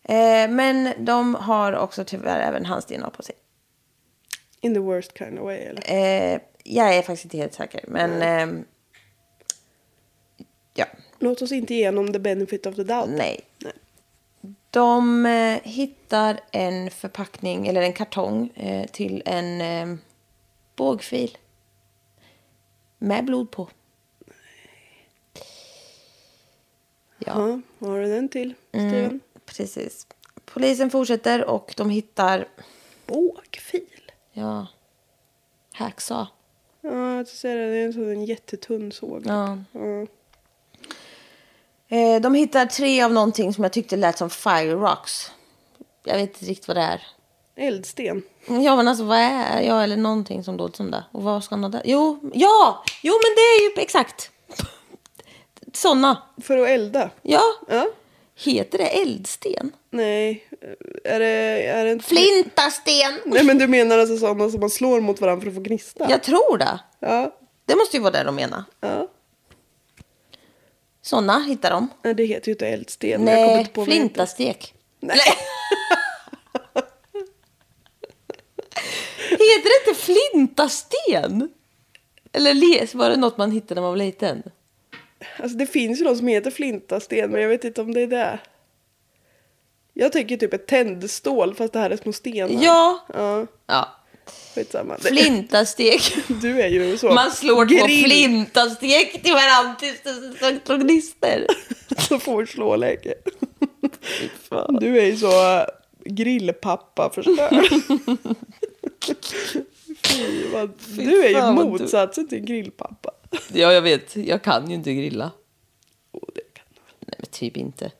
A: Eh, men de har också tyvärr även hans DNA på sig.
B: In the worst kind of way eller?
A: Eh, jag är faktiskt inte helt säker, men... ehm, ja,
B: Låt oss inte ge honom the benefit of the doubt.
A: nej.
B: Nej.
A: De eh, hittar en förpackning, eller en kartong, eh, till en eh, bågfil. Med blod på. Ja, mm,
B: Ja. Vad har du den till? Steven?
A: precis. Polisen fortsätter och de hittar,
B: Bågfil.
A: ja, hacksaw.
B: Ja, jag ser det. Det är en sån jättetunn såg.
A: Ja.
B: Ja.
A: Eh, de hittar tre av någonting som jag tyckte lät som fire rocks. Jag vet inte riktigt vad det är.
B: Eldsten.
A: Ja men alltså vad är jag eller någonting som låter som det? Och vad ska han ha där? Jo, ja! Jo men det är ju exakt! Såna.
B: För att elda?
A: Ja.
B: Ja.
A: Heter det eldsten?
B: Nej. Är det, är det inte...
A: Flintasten!
B: <laughs> Nej men du menar alltså sådana som man slår mot varandra för att få gnista?
A: Jag tror det.
B: Ja.
A: Det måste ju vara det de menar.
B: ja.
A: Såna hittar de.
B: Nej det heter ju inte eldsten. Jag kommer
A: Nej,
B: inte på vad det heter.
A: flintastek. Nej. <laughs> Heter det inte flintasten? Eller les, var det något man hittade när man var liten?
B: Alltså det finns ju någon som heter flintasten men jag vet inte om det är det. Jag tänker typ ett tändstål fast det här är små stenar.
A: Ja.
B: Ja,
A: Ja,
B: skitsamma. Det-
A: flintastek.
B: Du är ju så.
A: Man slår två
B: <laughs> grill.
A: flintastek till varandra tills det så- så- så gnister.
B: som får slå längre. Du är ju så äh, grillpappa-förstörd. Fy, vad- Du är ju
A: fan vad du-
B: motsatsen till grillpappa.
A: Ja, jag vet. Jag kan ju inte grilla.
B: Oh, det kan du.
A: Nej, men typ inte.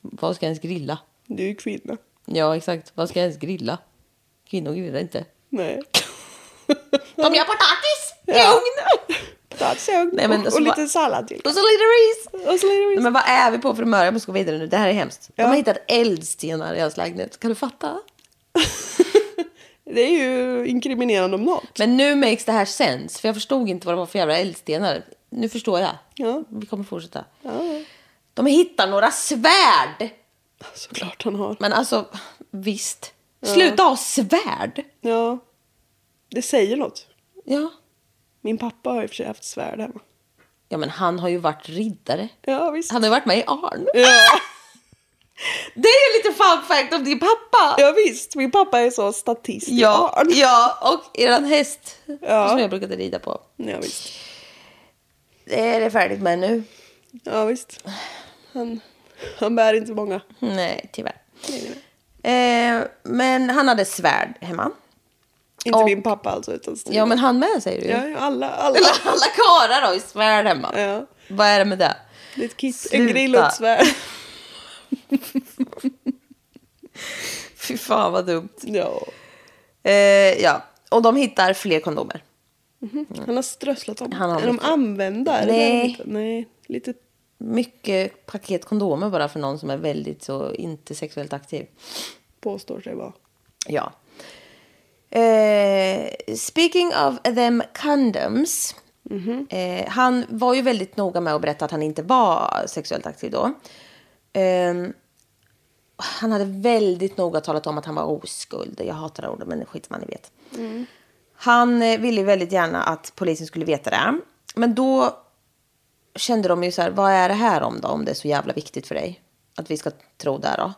A: Vad ska jag ens grilla?
B: Du är ju kvinna.
A: Ja, exakt. Vad ska jag ens grilla? Kvinnor grillar inte. <laughs>
B: Nej.
A: De gör potatis i
B: Ja.
A: ugn!
B: Potatis i ugn
A: Nej, men
B: och,
A: så
B: och
A: bara-
B: lite sallad till.
A: Och så lite ris!
B: Och så lite ris.
A: Nej, Men vad är vi på för humör? Jag måste gå vidare nu. Det här är hemskt.
B: Ja.
A: De har hittat eldstenar i hans lägenhet. Kan du fatta?
B: <laughs> Det är ju inkriminerande om något.
A: Men nu makes det här sense. För jag förstod inte vad det var för jävla eldstenar. Nu förstår jag.
B: Ja.
A: Vi kommer fortsätta.
B: Ja,
A: De hittar några svärd!
B: såklart han har.
A: Men alltså, visst. Sluta ha svärd!
B: Ja. Det säger något.
A: Ja.
B: Min pappa har i och för sig haft svärd hemma.
A: Ja, men han har ju varit riddare.
B: Ja, visst.
A: Han har ju varit med i Arn.
B: Ja,
A: <laughs> Det är ju lite fun fact om din pappa!
B: ja, visst. Min pappa är så statist i
A: ja,
B: barn.
A: ja, och eran häst
B: Ja.
A: som jag brukade rida på.
B: ja, visst.
A: Det är det färdigt med nu.
B: Ja, visst. Han, han bär inte många.
A: Nej, tyvärr.
B: Nej, nej, nej.
A: Eh, men han hade svärd hemma.
B: Inte
A: Och-
B: min pappa alltså, utan Stina.
A: Ja, men han med säger du ju.
B: Ja, ja, alla,
A: <laughs>
B: alla.
A: Alla, alla karlar har ju svärd hemma.
B: Ja.
A: Vad är det med det?
B: Det är ett kit, en
A: Sluta.
B: grill och ett svärd.
A: Fy fan vad dumt.
B: Ja.
A: Eh, ja, och de hittar fler kondomer.
B: Han har strösslat dem.
A: Mm. Han har
B: är de
A: mycket.
B: använda? Är det
A: Nej.
B: där lite- nej. Lite...
A: Mycket paket kondomer bara för någon som är väldigt så inte sexuellt aktiv.
B: påstår sig vara.
A: Ja. Eh, speaking of them condoms. Eh, han var ju väldigt noga med att berätta att han inte var sexuellt aktiv då. Ehm, han hade väldigt noga talat om att han var oskuld. Jag hatar det ordet, men skit man ni vet. Han eh, ville ju väldigt gärna att polisen skulle veta det. Men då kände de ju så här, vad är det här om då? Om det är så jävla viktigt för dig. Att vi ska tro det då.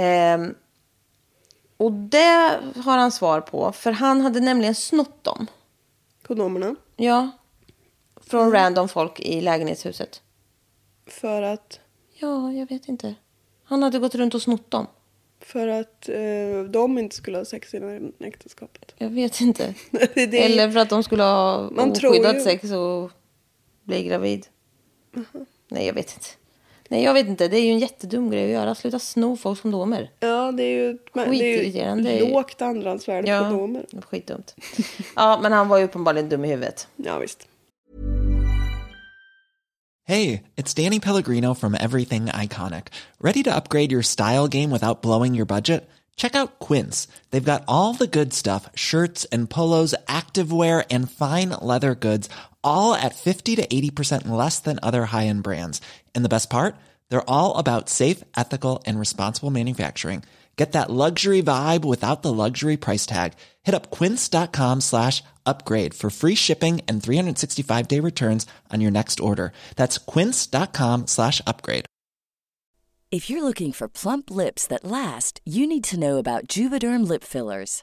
A: Ehm, och det har han svar på, för han hade nämligen snott dem.
B: Kondomerna.
A: Ja. Från
B: Mm.
A: random folk i lägenhetshuset.
B: För att,
A: Ja, jag vet inte. Han hade gått runt och snott dem.
B: för att eh, de inte skulle ha sex innan äktenskapet. <laughs>
A: Jag vet inte.
B: Det är-
A: Eller för att de skulle ha
B: Man tror ju-
A: oskyddat sex och bli gravid.
B: Mhm.
A: Nej, jag vet inte. Nej, jag vet inte. Det är ju en jättedum grej att göra. Sluta sno folks kondomer.
B: Ja, det är ju, men det är
A: Skitirriterande.
B: ju lågt andrahandsvärde på kondomer.
A: skitdumt. ja, men han var ju uppenbarligen dum i huvudet.
B: Ja, visst.
C: Hey, it's Danny Pellegrino from Everything Iconic. Ready to upgrade your style game without blowing your budget? Check out Quince. They've got all the good stuff shirts and polos, activewear, and fine leather goods, all at 50 to 80% less than other high end brands. And the best part? They're all about safe, ethical, and responsible manufacturing. Get that luxury vibe without the luxury price tag. Hit up quince.com slash upgrade for free shipping and 365 day returns on your next order. That's quince.com slash upgrade.
D: If you're looking for plump lips that last, you need to know about Juvederm lip fillers.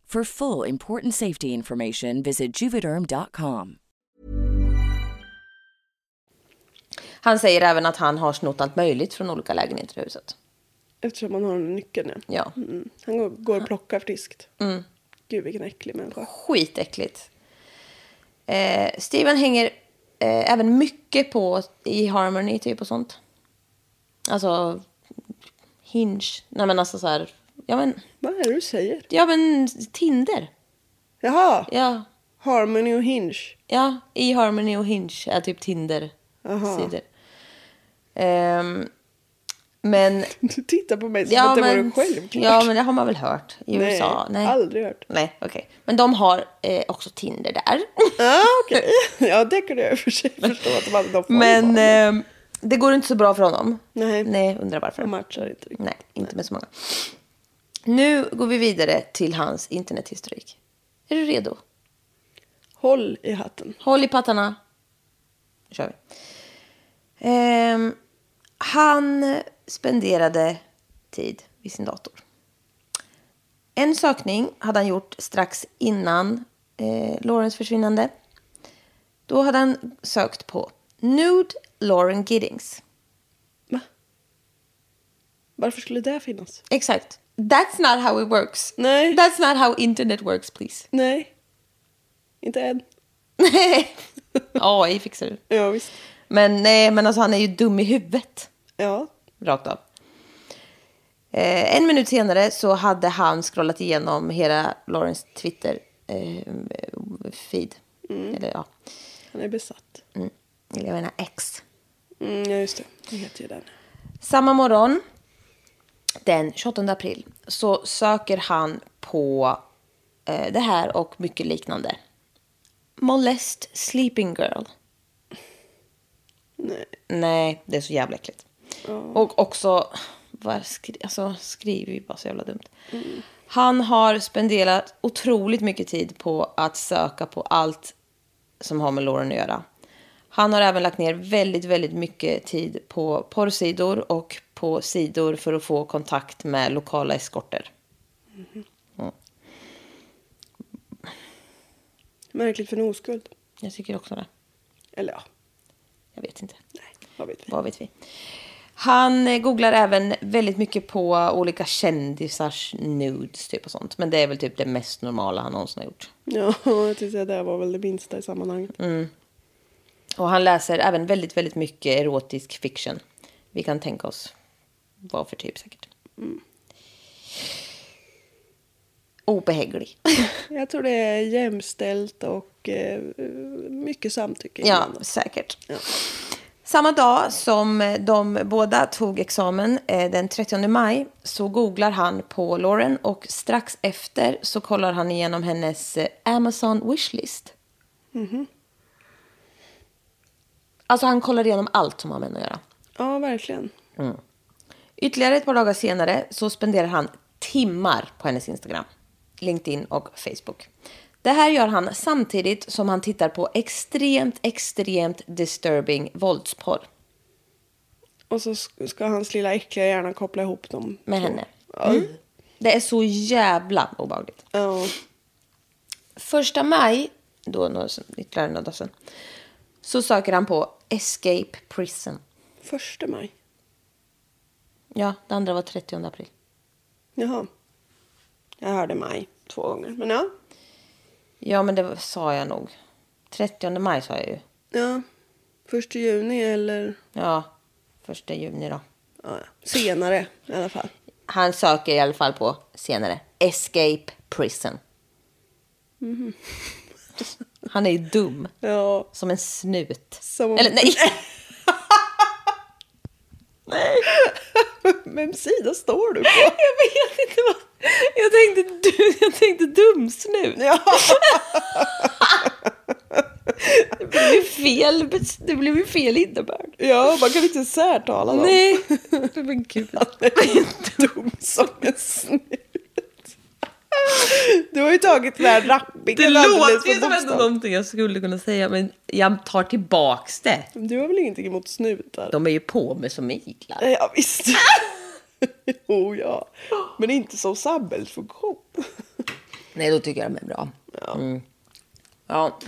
D: For full important safety information, visit juvederm.com.
A: Han säger även att han har snott allt möjligt från olika lägenheter i huset.
B: Eftersom man har den nyckeln, ja.
A: Ja. Mm.
B: Mm. Han går, går och plockar friskt. Gud, vilken äcklig människa.
A: skitäckligt. Eh, Steven hänger eh, även mycket på i Harmony typ och sånt. Alltså, hinge. Nej men alltså så här, ja men,
B: Vad är det du säger?
A: ja men Tinder.
B: Jaha,
A: Ja,
B: Harmony och Hinge.
A: ja i Harmony och Hinge är typ Tinder-sidor. Ehm, men,
B: Du tittar på mig som
A: ja
B: att det
A: men,
B: vore självklart.
A: ja men det har man väl hört i
B: Nej,
A: USA?
B: aldrig hört.
A: Nej, okej. Men de har eh, också Tinder där.
B: Ja, Ah, okej. <laughs> Ja, det kunde jag i och för sig förstå att de hade någon
A: <laughs>
B: form
A: Men
B: av-
A: ehm, det går inte så bra för honom.
B: Nej.
A: Nej, undrar varför.
B: De matchar inte riktigt.
A: Nej, inte med så många. Nu går vi vidare till hans internethistorik. Är du redo?
B: Håll i hatten.
A: Håll i pattarna. Nu kör vi. Ehm, han spenderade tid vid sin dator. En sökning hade han gjort strax innan eh, Laurens försvinnande. Då hade han sökt på Nude Lauren Giddings.
B: Va? Varför skulle det finnas?
A: Exakt. That's not how it works.
B: Nej.
A: That's not how internet works, please. <laughs>
B: Nej. Inte än.
A: AI fixar det.
B: Ja, visst.
A: Men nej, men alltså han är ju dum i huvudet.
B: Ja.
A: Rakt av. Eh, en minut senare så hade han scrollat igenom hela Laurens Twitter eh, feed. Eller ja,
B: Han är besatt.
A: eller jag menar X.
B: Mm, ja, just det. Det heter ju den.
A: Samma morgon, den 28 april, så söker han på eh, det här och mycket liknande. Molest sleeping girl.
B: Nej.
A: Nej, det är så jävla äckligt. Och också, vad skri, alltså, skriver ju bara så jävla dumt. Han har spenderat otroligt mycket tid på att söka på allt som har med Lauren att göra. Han har även lagt ner väldigt, väldigt mycket tid på porrsidor och på sidor för att få kontakt med lokala eskorter.
B: Märkligt för en oskuld.
A: Jag tycker också det.
B: Eller ja,
A: Jag vet inte.
B: nej. Vad vet vi?
A: Vad vet vi? Han eh, googlar även väldigt mycket på olika kändisars nudes typ och sånt. Men det är väl typ det mest normala han någonsin har gjort.
B: Ja, <laughs> jag tyckte att det här var väl det minsta i sammanhanget.
A: Mm. Och han läser även väldigt, väldigt mycket erotisk fiction. Vi kan tänka oss vad för typ säkert. Obehaglig.
B: Jag tror det är jämställt och eh, mycket samtycke.
A: Ja,
B: inblandat.
A: säkert. Samma dag som eh, de båda tog examen, eh, den 30 maj, så googlar han på Lauren och strax efter så kollar han igenom hennes eh, Amazon wishlist. Alltså han kollar igenom allt som har med henne att göra.
B: ja verkligen.
A: Ytterligare ett par dagar senare så spenderar han timmar på hennes Instagram, LinkedIn och Facebook. Det här gör han samtidigt som han tittar på extremt, extremt disturbing våldsporr
B: Och så sk- ska hans lilla äckliga hjärna koppla ihop dem.
A: med
B: två.
A: henne. Mm. Det är så jävla obehagligt.
B: Ja.
A: Första maj, då några- ytterligare några dagar sedan, så söker han på Escape Prison.
B: Första maj.
A: Ja, det andra var 30 april.
B: Jaha. Jag hörde maj två gånger. Men ja.
A: Ja, men det var- sa jag nog. 30 maj sa jag ju.
B: ja. Första juni eller
A: Ja, första juni då.
B: ja, ja. senare i alla fall.
A: Han söker i alla fall på senare. Escape prison. Mm-hmm. Han är ju dum.
B: Ja.
A: Som en snut.
B: Som om-
A: Eller nej.
B: Vem sida står du på?
A: Jag vet inte vad. Jag tänkte, du, jag tänkte dum snut.
B: Ja.
A: Det blev ju fel, det blev ju fel innebörd.
B: <laughs> ja, man kan inte särtala dem.
A: Nej. <laughs> Men gud.
B: <laughs> Dum som en snut. Du har ju tagit den här
A: Det
B: rappingen alldeles
A: låter
B: på
A: ju som ändå
B: bokstav.
A: någonting jag skulle kunna säga men jag tar tillbaks det.
B: Du har väl ingenting emot snutar?
A: De är ju på mig som iglar.
B: Nej, Ja, visst. <laughs> jo, ja. Men inte som samhällsfunktion.
A: Nej, då tycker jag de är bra.
B: Ja.
A: Mm. Ja,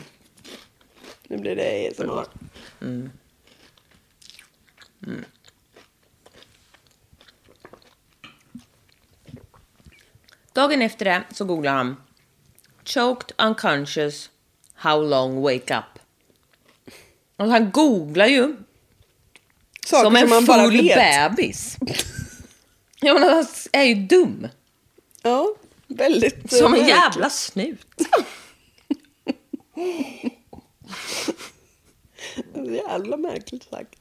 B: Nu blir det ASMR.
A: Dagen efter det så googlar han Choked unconscious Alltså, how long wake up. Och han googlar ju.
B: saker
A: som en
B: som man bara
A: full
B: vet.
A: bebis. <laughs> Jag menar, han är ju dum.
B: Ja, väldigt. eh,
A: Som en
B: märkligt.
A: jävla snut.
B: Jävla märkligt sagt.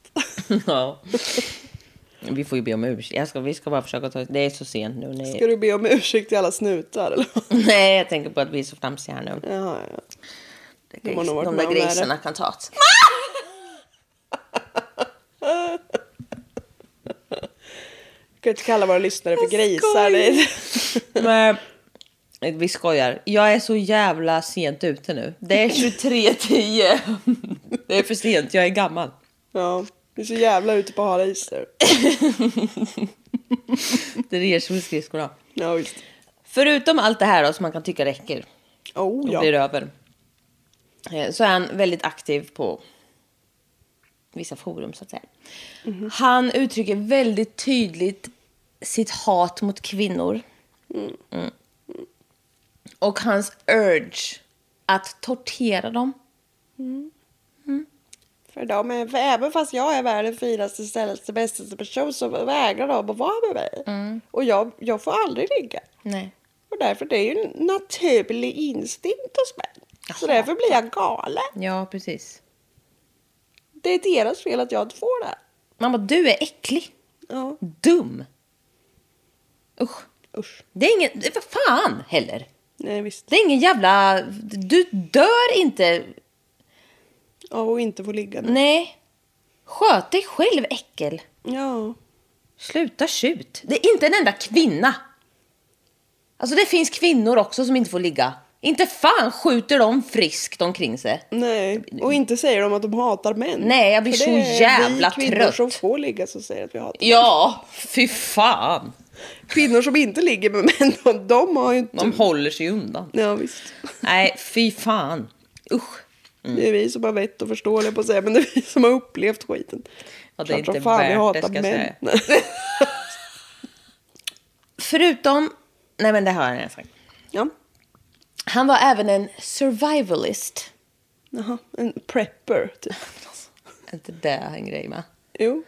A: Ja. Vi får ju be om ursäkt. Jag ska, vi ska bara försöka ta... Det är så sent nu. Nej.
B: <laughs> Ska du be om ursäkt till alla snutar eller? <laughs> vad?
A: Nej, jag tänker på att vi är så flamsiga här nu.
B: Jaha, ja.
A: De,
B: har nog varit
A: de
B: med
A: där
B: om värre.
A: grisarna kan ta åt.
B: Vi kan inte kalla våra lyssnare för grisar. Det är-
A: Men eh, vi skojar. Jag är så jävla sent ute nu. Det är 23.10. Det är för sent, jag är gammal.
B: <laughs> Ja, du är så jävla ute på hal is nu.
A: Det är er som är skridskorna.
B: Ja, visst.
A: Förutom allt det här då, som man kan tycka räcker och
B: Oh,
A: blir
B: ja.
A: över. eh, Så är han väldigt aktiv på vissa forum så att säga. Han uttrycker väldigt tydligt sitt hat mot kvinnor. Mm. Och hans urge att tortera dem.
B: För de är, även fast jag är världens finaste, snällaste, bästa person så vägrar de att vara med mig.
A: Mm.
B: Och jag, jag får aldrig ligga.
A: Nej.
B: Och därför det är ju en naturlig instinkt hos mig.
A: Alltså.
B: Så därför blir jag galen.
A: Ja, precis.
B: Det är deras fel att jag inte får det.
A: Man bara, du är äcklig.
B: Ja,
A: Dum. Usch.
B: usch.
A: Det är ingen, det- vad fan heller.
B: Nej, visst.
A: Det är ingen jävla, du dör inte.
B: Ja, och inte få ligga. nu.
A: Nej. Sköt dig själv äckel.
B: Ja.
A: Sluta tjut. Det är inte en enda kvinna. Alltså det finns kvinnor också som inte får ligga. Inte fan skjuter de friskt omkring sig.
B: Nej, och inte säger de att de hatar män.
A: Nej, jag blir
B: För
A: så
B: det är
A: jävla
B: vi kvinnor
A: trött.
B: som får ligga som säger att vi hatar
A: Ja, fy fan.
B: Kvinnor som inte ligger med män, de, de har ju inte...
A: De håller sig undan.
B: Ja, visst.
A: Nej, fy fan. Usch.
B: Det är vi som har vett och förstår, jag på att säga, men det är vi som har upplevt skiten.
A: Ja, det är
B: Klart som
A: inte
B: fan vi
A: värt det,
B: hatar
A: ska jag säga.
B: män. <laughs>
A: Förutom... Nej, men det har jag redan sagt.
B: ja,
A: Han var även en survivalist.
B: jaha. En prepper,
A: <laughs>
B: typ.
A: Är inte det en grej med?
B: Jo.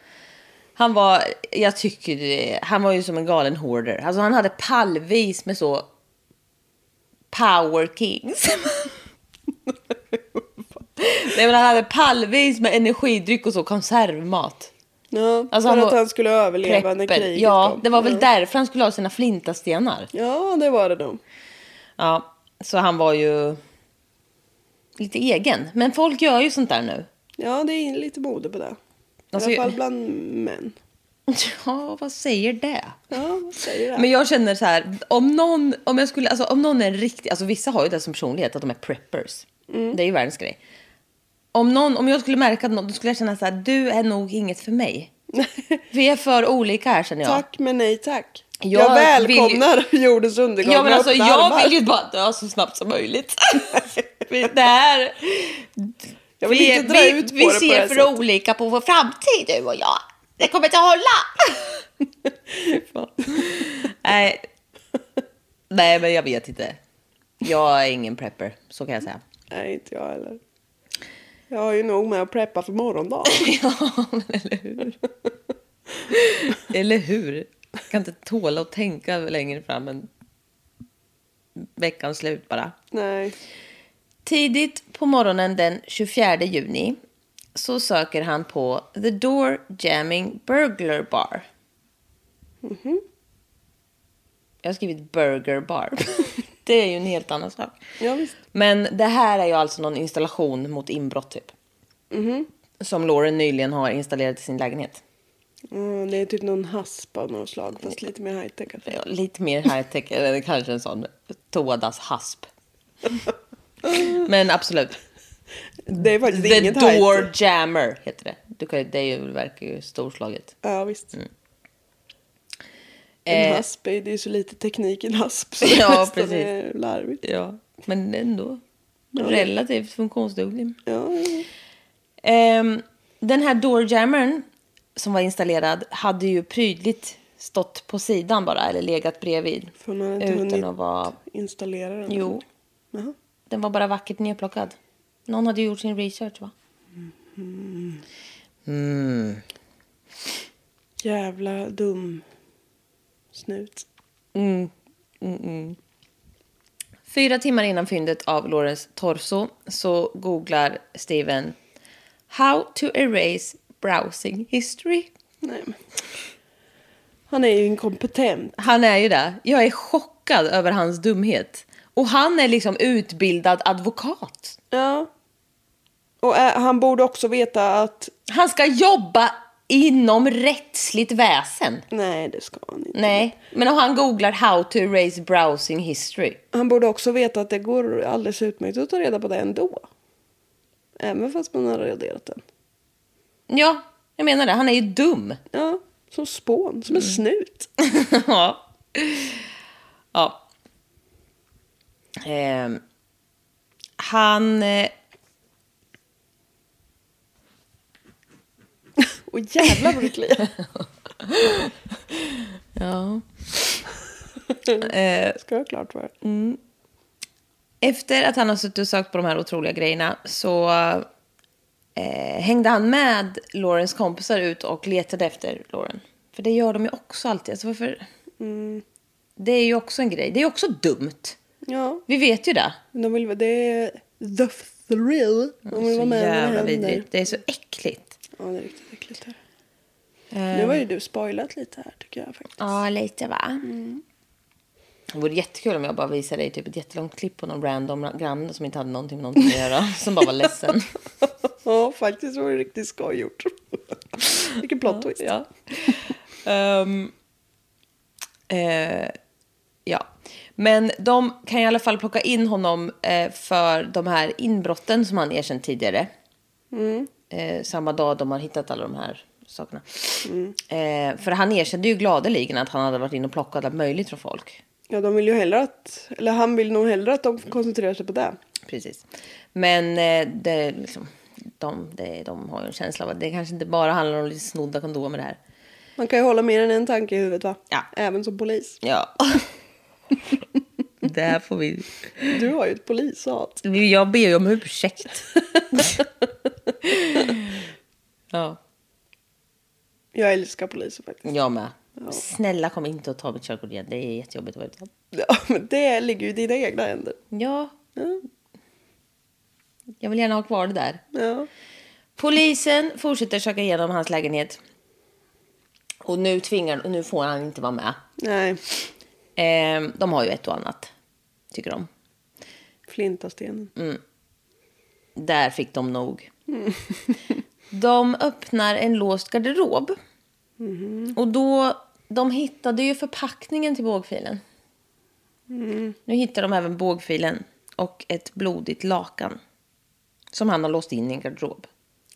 A: Han var, jag tycker det, han var ju som en galen hoarder. Alltså han hade pallvis med så power kings. <laughs> Nej men han hade pallvis med energidryck och så konservmat.
B: Ja,
A: Alltså,
B: för
A: han
B: att
A: var
B: han skulle överleva när
A: Prepper.
B: kriget
A: Ja,
B: kom.
A: det var väl
B: ja.
A: därför han skulle ha sina flintastenar.
B: Ja, det var det nog.
A: Ja, så han var ju lite egen. Men folk gör ju sånt där nu.
B: Ja, det är lite mode på det.
A: Alltså,
B: I alla fall bland män.
A: Ja, vad säger det?
B: Ja, vad säger det?
A: Men
B: <laughs>
A: jag känner så här, om någon, om jag skulle, alltså om någon är riktig, alltså vissa har ju det som personlighet att de är preppers. Det är ju världens grej. Om, någon, om jag skulle märka något, då skulle jag känna så här, du är nog inget för mig. Vi är för olika här känner jag.
B: Tack, men nej tack.
A: Jag
B: Jag,
A: vill ju-
B: välkomnar <laughs> jordens undergång
A: Ja men
B: med
A: alltså
B: öppna
A: jag
B: armar.
A: vill ju bara dö så snabbt som möjligt. <laughs> det här,
B: Jag vill
A: vi,
B: inte dra
A: vi,
B: ut på
A: vi
B: det på det
A: ser
B: här
A: för
B: sättet.
A: olika på vår framtid du och jag. Det kommer inte hålla. <laughs> Nej. Nej men jag vet inte. Jag är ingen prepper, så kan jag säga.
B: Nej, inte jag heller. Jag har ju nog med att preppa för morgondagen.
A: <laughs> Ja, men eller hur? eller hur? Jag kan inte tåla att tänka längre fram än veckans slut bara.
B: nej.
A: Tidigt på morgonen den 24 juni så söker han på The Door Jamming Burglar Bar. Jag har skrivit Burger Bar. det är ju en helt annan sak.
B: Ja, visst.
A: Men det här är ju alltså någon installation mot inbrott typ. Som Lauren nyligen har installerat i sin lägenhet.
B: Mm, det är typ någon hasp av något slag, fast lite mer high-tech. kanske.
A: Ja, lite mer high-tech, eller kanske en sån toadass-hasp. Men absolut.
B: Det är faktiskt
A: The
B: inget
A: Door
B: high-tech.
A: Jammer heter det. Du kan, ju- det är ju, verkar ju storslaget.
B: Ja, visst. En
A: Mm. Eh,
B: hasp, är- det är så lite teknik i en hasp. Så
A: <laughs> Ja,
B: det nästan
A: precis.
B: är larvigt.
A: ja, men ändå relativt funktionsduglig.
B: Ja, ja.
A: Ehm, den här doorjammern som var installerad hade ju prydligt stått på sidan bara, eller legat bredvid.
B: för man har inte
A: Utan
B: hunnit
A: att vara...
B: installera den.
A: Jo,
B: Jaha.
A: Den var bara vackert nedplockad. Någon hade gjort sin research va? Mm.
B: Jävla dum snut.
A: Fyra timmar innan fyndet av Lorens torso så googlar Steven How to erase browsing history.
B: Nej, men. Han är ju inkompetent.
A: Han är ju det. Jag är chockad över hans dumhet. Och han är liksom utbildad advokat.
B: Ja. Och eh, han borde också veta att...
A: Han ska jobba inom rättsligt väsen.
B: Nej, det ska han inte.
A: Nej, men om han googlar how to erase browsing history.
B: Han borde också veta att det går alldeles utmärkt att ta reda på det ändå. Även fast man har raderat den.
A: Ja, jag menar det. Han är ju dum. <laughs>
B: Ja, som spån, som en snut.
A: ja. ja. Ehm, han... Eh,
B: Och jävlar vad du <laughs> kliar.
A: ja.
B: Eh, ska jag ha klart för.
A: Efter att han har suttit och sökt på de här otroliga grejerna så eh, hängde han med Laurens kompisar ut och letade efter Lauren. För det gör de ju också alltid. Alltså varför? Mm. Det är ju också en grej. Det är också dumt.
B: Ja,
A: Vi vet ju det.
B: de vill, vara- det är the thrill. De vill
A: så
B: vara med när
A: jävla
B: det händer.
A: vidrigt. Det är så äckligt.
B: Ja, det är riktigt äckligt. Här. Nu har ju du spoilat lite här tycker jag faktiskt.
A: Ja, lite va? Mm. Det vore jättekul om jag bara visade dig typ ett jättelångt klipp på någon random granne som inte hade någonting med någonting att göra. <laughs> Som bara var ledsen.
B: Ja, faktiskt var det riktigt skoj gjort. Vilken plot twist.
A: Ja. <laughs> Ehm, eh, ja. Men de kan i alla fall plocka in honom eh, för de här inbrotten som han erkänt tidigare. Eh, samma dag de har hittat alla de här sakerna. Eh, för han erkände ju gladeligen att han hade varit inne och plockat allt möjligt från folk.
B: Ja, de vill ju hellre att, eller han vill nog hellre att de koncentrerar sig på det.
A: Precis. Men eh, det, är liksom, de, det, de har ju en känsla av att det kanske inte bara handlar om lite snodda kondomer här.
B: Man kan ju hålla mer än en tanke i huvudet va?
A: Ja.
B: Även som polis.
A: Ja. <laughs> Där får vi...
B: Du har ju ett polishat.
A: Jag ber ju om ursäkt. <laughs> ja,
B: Jag älskar poliser faktiskt.
A: jag med. Snälla kom inte och ta mitt körkort igen. Det är jättejobbigt att vara utan.
B: Ja, men det ligger ju i dina egna händer.
A: Ja,
B: Ja.
A: jag vill gärna ha kvar det där.
B: ja.
A: Polisen fortsätter söka igenom hans lägenhet. Och nu tvingar och nu får han inte vara med.
B: Nej,
A: Eh, de har ju ett och annat, tycker de.
B: flintastenen.
A: Där fick de nog. de öppnar en låst garderob. Och då, de hittade ju förpackningen till bågfilen. Nu hittar de även bågfilen och ett blodigt lakan. Som han har låst in i en garderob.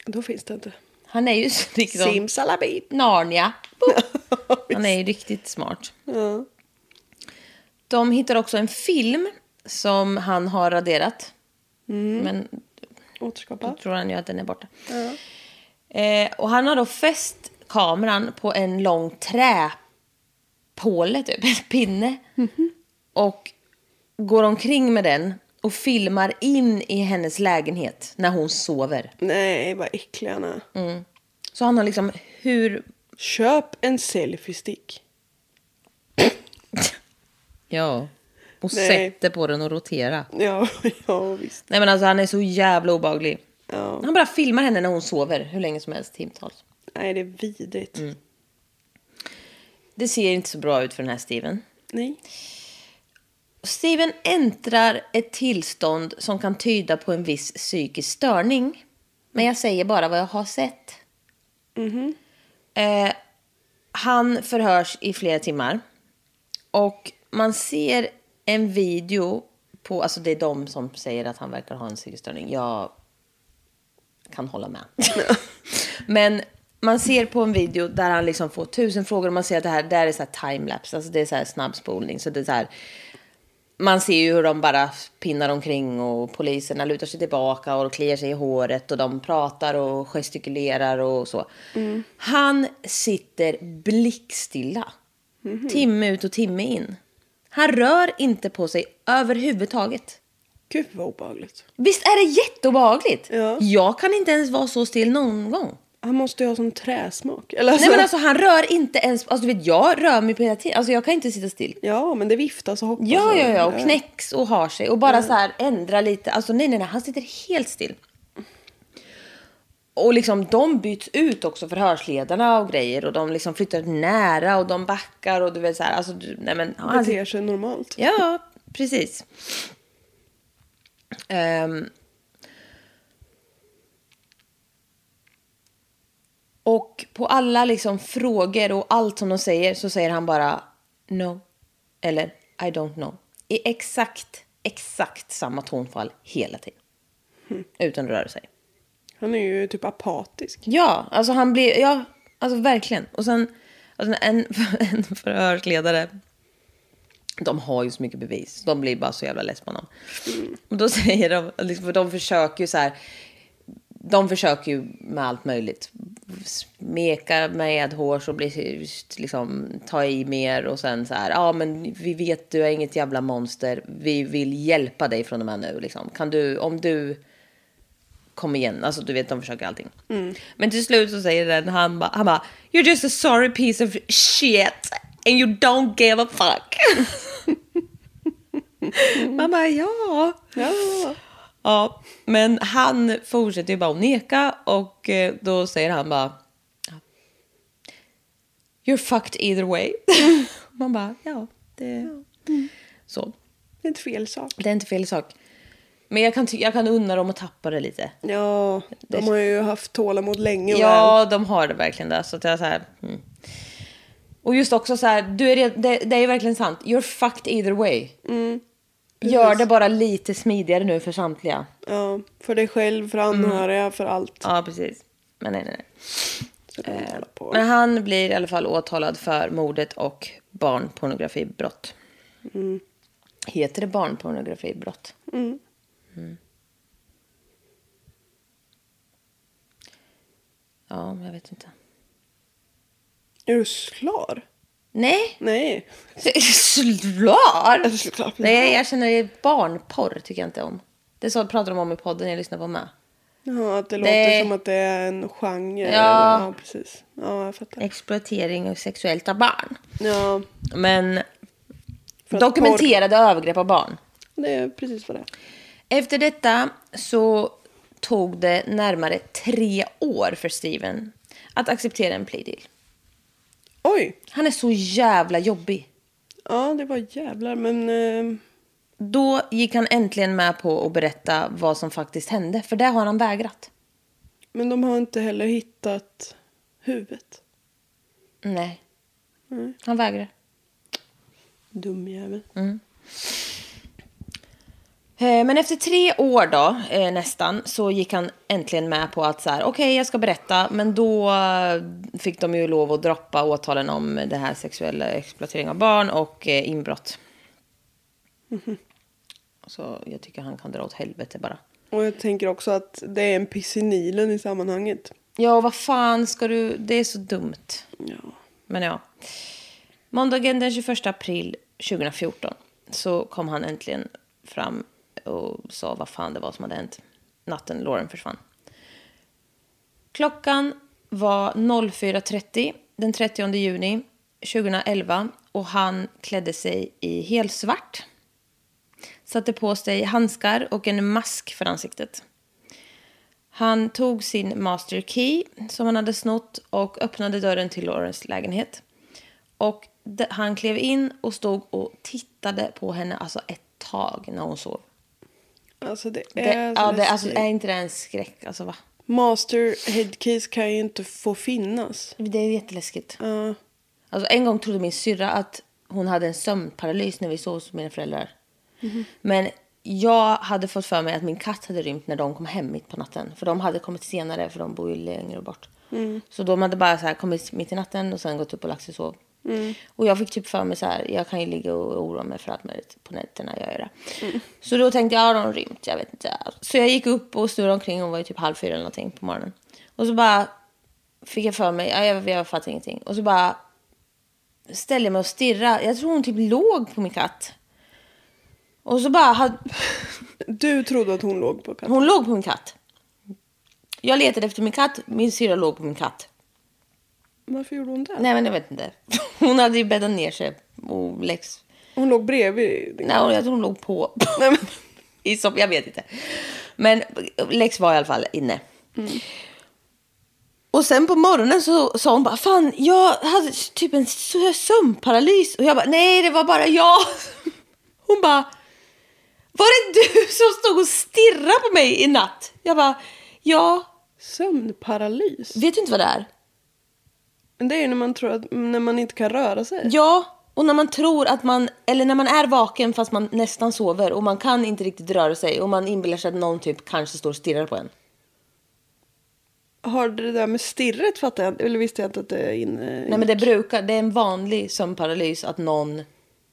B: Då finns det inte.
A: Han är ju <laughs> så liksom...
B: Simsalabim!
A: Narnia. Han
B: <laughs>
A: är ju riktigt smart. De hittar också en film som han har raderat. Men
B: Återskapa.
A: då tror han ju att den är borta. Eh, och han har då fäst kameran på en lång träpåle, typ, <laughs> en pinne. Mhm. Och går omkring med den och filmar in i hennes lägenhet när hon sover.
B: Nej, vad äcklig han är.
A: Så han har liksom hur...
B: Köp en selfiestick.
A: Ja. Och
B: Nej.
A: sätter på den och rotera.
B: Ja, <laughs> ja visst.
A: Nej men alltså han är så jävla obaglig.
B: Ja.
A: Han bara filmar henne när hon sover hur länge som helst, timtals.
B: Nej, det är vidrigt.
A: Det ser inte så bra ut för den här Steven.
B: Nej.
A: Steven äntrar ett tillstånd som kan tyda på en viss psykisk störning. Men jag säger bara vad jag har sett. Eh, han förhörs i flera timmar. Och man ser en video på... Alltså det är de som säger att han verkar ha en psykisk störning. Jag kan hålla med. Men man ser på en video där han liksom får tusen frågor och man ser att det här, det här är så här timelapse, alltså det är så här snabbspolning. Så det är så här, man ser ju hur de bara pinnar omkring och poliserna lutar sig tillbaka och kliar sig i håret och de pratar och gestikulerar och så.
B: Mm.
A: Han sitter blickstilla.
B: Mhm.
A: Timme ut och timme in. Han rör inte på sig överhuvudtaget.
B: Gud vad obehagligt.
A: Visst är det jätteobehagligt?
B: Ja.
A: Jag kan inte ens vara så still någon gång.
B: Han måste ju ha sån träsmak. Eller alltså,
A: Nej men alltså han rör inte ens, alltså du vet jag rör mig på hela tiden. Alltså jag kan inte sitta still.
B: Ja, men det viftas och hoppas.
A: Ja, ja, ja. Och
B: Ja.
A: knäcks och har sig. Och bara så här ändra lite. Alltså nej, nej, nej. Han sitter helt still. Och liksom de byts ut också, förhörsledarna och grejer. Och de liksom flyttar nära och de backar och du vet så här. Alltså, du, nej men. ja, han
B: Beter sig normalt.
A: Ja, precis. Ehm. och på alla liksom frågor och allt som de säger så säger han bara no eller I don't know. I exakt, exakt samma tonfall hela tiden. Utan att röra sig.
B: Han är ju typ apatisk.
A: Ja, alltså han blir, ja, alltså verkligen. Och sen, alltså en, <laughs> en förhörsledare, de har ju så mycket bevis. De blir bara så jävla less på honom. Och då <laughs> säger de, liksom, för de försöker ju så här, de försöker ju med allt möjligt. Smeka med hår så blir liksom ta i mer och sen så här, ja men vi vet du är inget jävla monster. Vi vill hjälpa dig från och med nu liksom. Kan du, om du kom igen. Alltså du vet, de försöker allting. Men till slut så säger den, han bara, han bara, you're just a sorry piece of shit and you don't give a fuck. Man bara, ja.
B: Ja.
A: Ja, men han fortsätter ju bara att neka och eh, då säger han bara, you're fucked either way. Man bara, ja, det... Så.
B: Det är inte fel sak.
A: Det är inte fel sak. Men jag kan, ty- jag kan unna dem att tappa det lite.
B: Ja, de har ju haft tålamod länge och väl.
A: Ja, de har det verkligen där. Så att jag så här, mm. Och just också så här, du är, red- det, det är verkligen sant. You're fucked either way. Gör det bara lite smidigare nu för samtliga.
B: Ja, för dig själv,
A: Mm.
B: för anhöriga, för allt.
A: Ja, precis. Men nej, nej, nej.
B: Så det håller på.
A: Eh, Men han blir i alla fall åtalad för mordet och barnpornografibrott. Heter det barnpornografibrott? Mm. Ja, men jag vet inte.
B: Är du slar?
A: Nej, <laughs>
B: Nej. <laughs>
A: Slar?
B: Slar.
A: Nej, jag känner det barnporr tycker jag inte om. Det så pratade de om i podden jag lyssnade på med.
B: Ja, att det,
A: Det-
B: låter som att det är en genre.
A: Ja.
B: eller- ja precis. Ja, jag fattar.
A: Exploatering och sexuellt av barn.
B: Ja,
A: Men
B: För att
A: dokumenterade övergrepp av barn.
B: det är precis vad det är.
A: Efter detta så tog det närmare tre år för Steven att acceptera en plea deal.
B: Oj!
A: Han är så jävla jobbig.
B: Ja, det var jävlar. Men eh,
A: Då gick han äntligen med på att berätta vad som faktiskt hände, för det har han vägrat.
B: Men de har inte heller hittat huvudet.
A: Nej. Han vägrar.
B: Dum jävel.
A: Mm. Eh, Men efter tre år då, eh, nästan, så gick han äntligen med på att så här, okej, jag ska berätta. Men då eh, fick de ju lov att droppa åtalen om det här sexuella exploatering av barn och eh, inbrott. Så jag tycker han kan dra åt helvete bara.
B: Och jag tänker också att det är en piss i Nilen i sammanhanget.
A: Ja, vad fan ska du... Det är så dumt.
B: Ja.
A: Men ja. Måndagen den 21 april 2014 så kom han äntligen fram och sa vad fan det var som hade hänt. Natten Lauren försvann. Klockan var 04.30 den 30 juni 2011 och han klädde sig i helsvart. Satte på sig handskar och en mask för ansiktet. Han tog sin master key som han hade snott och öppnade dörren till Laurens lägenhet. Och d- han klev in och stod och tittade på henne alltså ett tag när hon sov.
B: Alltså det
A: Det,
B: är... så
A: ja, det,
B: läskigt.
A: alltså, är inte det en skräck? Alltså, va?
B: Master headkeys kan ju inte få finnas.
A: Det är jätteläskigt.
B: Ja.
A: Alltså, en gång trodde min syrra att hon hade en sömnparalys när vi sov hos mina föräldrar. Men jag hade fått för mig att min katt hade rymt när de kom hem mitt på natten. För de hade kommit senare för de bor ju längre bort. Så de hade bara så här kommit mitt i natten och sen gått upp och lagt sig och sov. Och jag fick typ för mig så här, jag kan ju ligga och oroa mig för allt möjligt på nätterna. Jag gör det. Så då tänkte jag, ja de har rymt, jag vet inte. Så jag gick upp och snurrade omkring, hon var ju typ halv fyra eller någonting på morgonen. Och så bara fick jag för mig, ja, jag, jag fattar ingenting. Och så bara ställde jag mig och stirrade. Jag tror hon typ låg på min katt. Och så bara, hade,
B: Du trodde att hon låg på katten?
A: hon låg på min katt. Jag letade efter min katt. Min syrra låg på min katt.
B: Varför gjorde hon det?
A: Nej, men jag vet inte. <laughs> Hon hade ju bäddat ner sig och läx...
B: Hon låg bredvid din
A: Nej, jag tror hon låg på. <laughs> Nej, men, I soff- jag vet inte. Men Lex var i alla fall inne. Och sen på morgonen så sa hon bara, fan jag hade typ en s- sömnparalys. Och jag bara, nej det var bara jag. <laughs> Hon bara, var det du som stod och stirrade på mig i natt? Jag bara, ja,
B: Sömnparalys?
A: vet du inte vad det är?
B: Men Det är ju när man tror att när man inte kan röra sig.
A: Ja, och när man tror att man, eller när man är vaken fast man nästan sover och man kan inte riktigt röra sig och man inbillar sig att någon typ kanske står och stirrar på en.
B: Har det där med stirret fattat jag Eller visste jag inte att det är inne?
A: Nej men det brukar, det är en vanlig sömnparalys att någon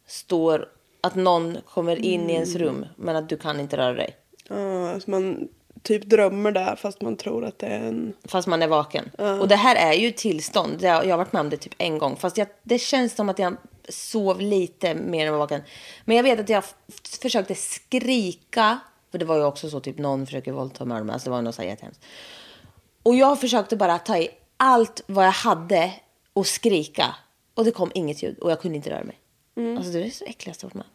A: står, att någon kommer in i ens rum men att du kan inte röra dig.
B: Ja, alltså man typ drömmer där fast man tror att det är en...
A: Fast man är vaken. Och det här är ju ett tillstånd. Det har- Jag har varit med om det typ en gång. Fast jag, det känns som att jag sov lite mer än jag var vaken. Men jag vet att jag f- försökte skrika. För det var ju också så typ någon försöker våldta och mörda mig. Alltså det var ju något så här jättehemskt. Och jag försökte bara ta i allt vad jag hade och skrika. Och det kom inget ljud och jag kunde inte röra mig. Alltså det är det så äckligaste jag varit med om.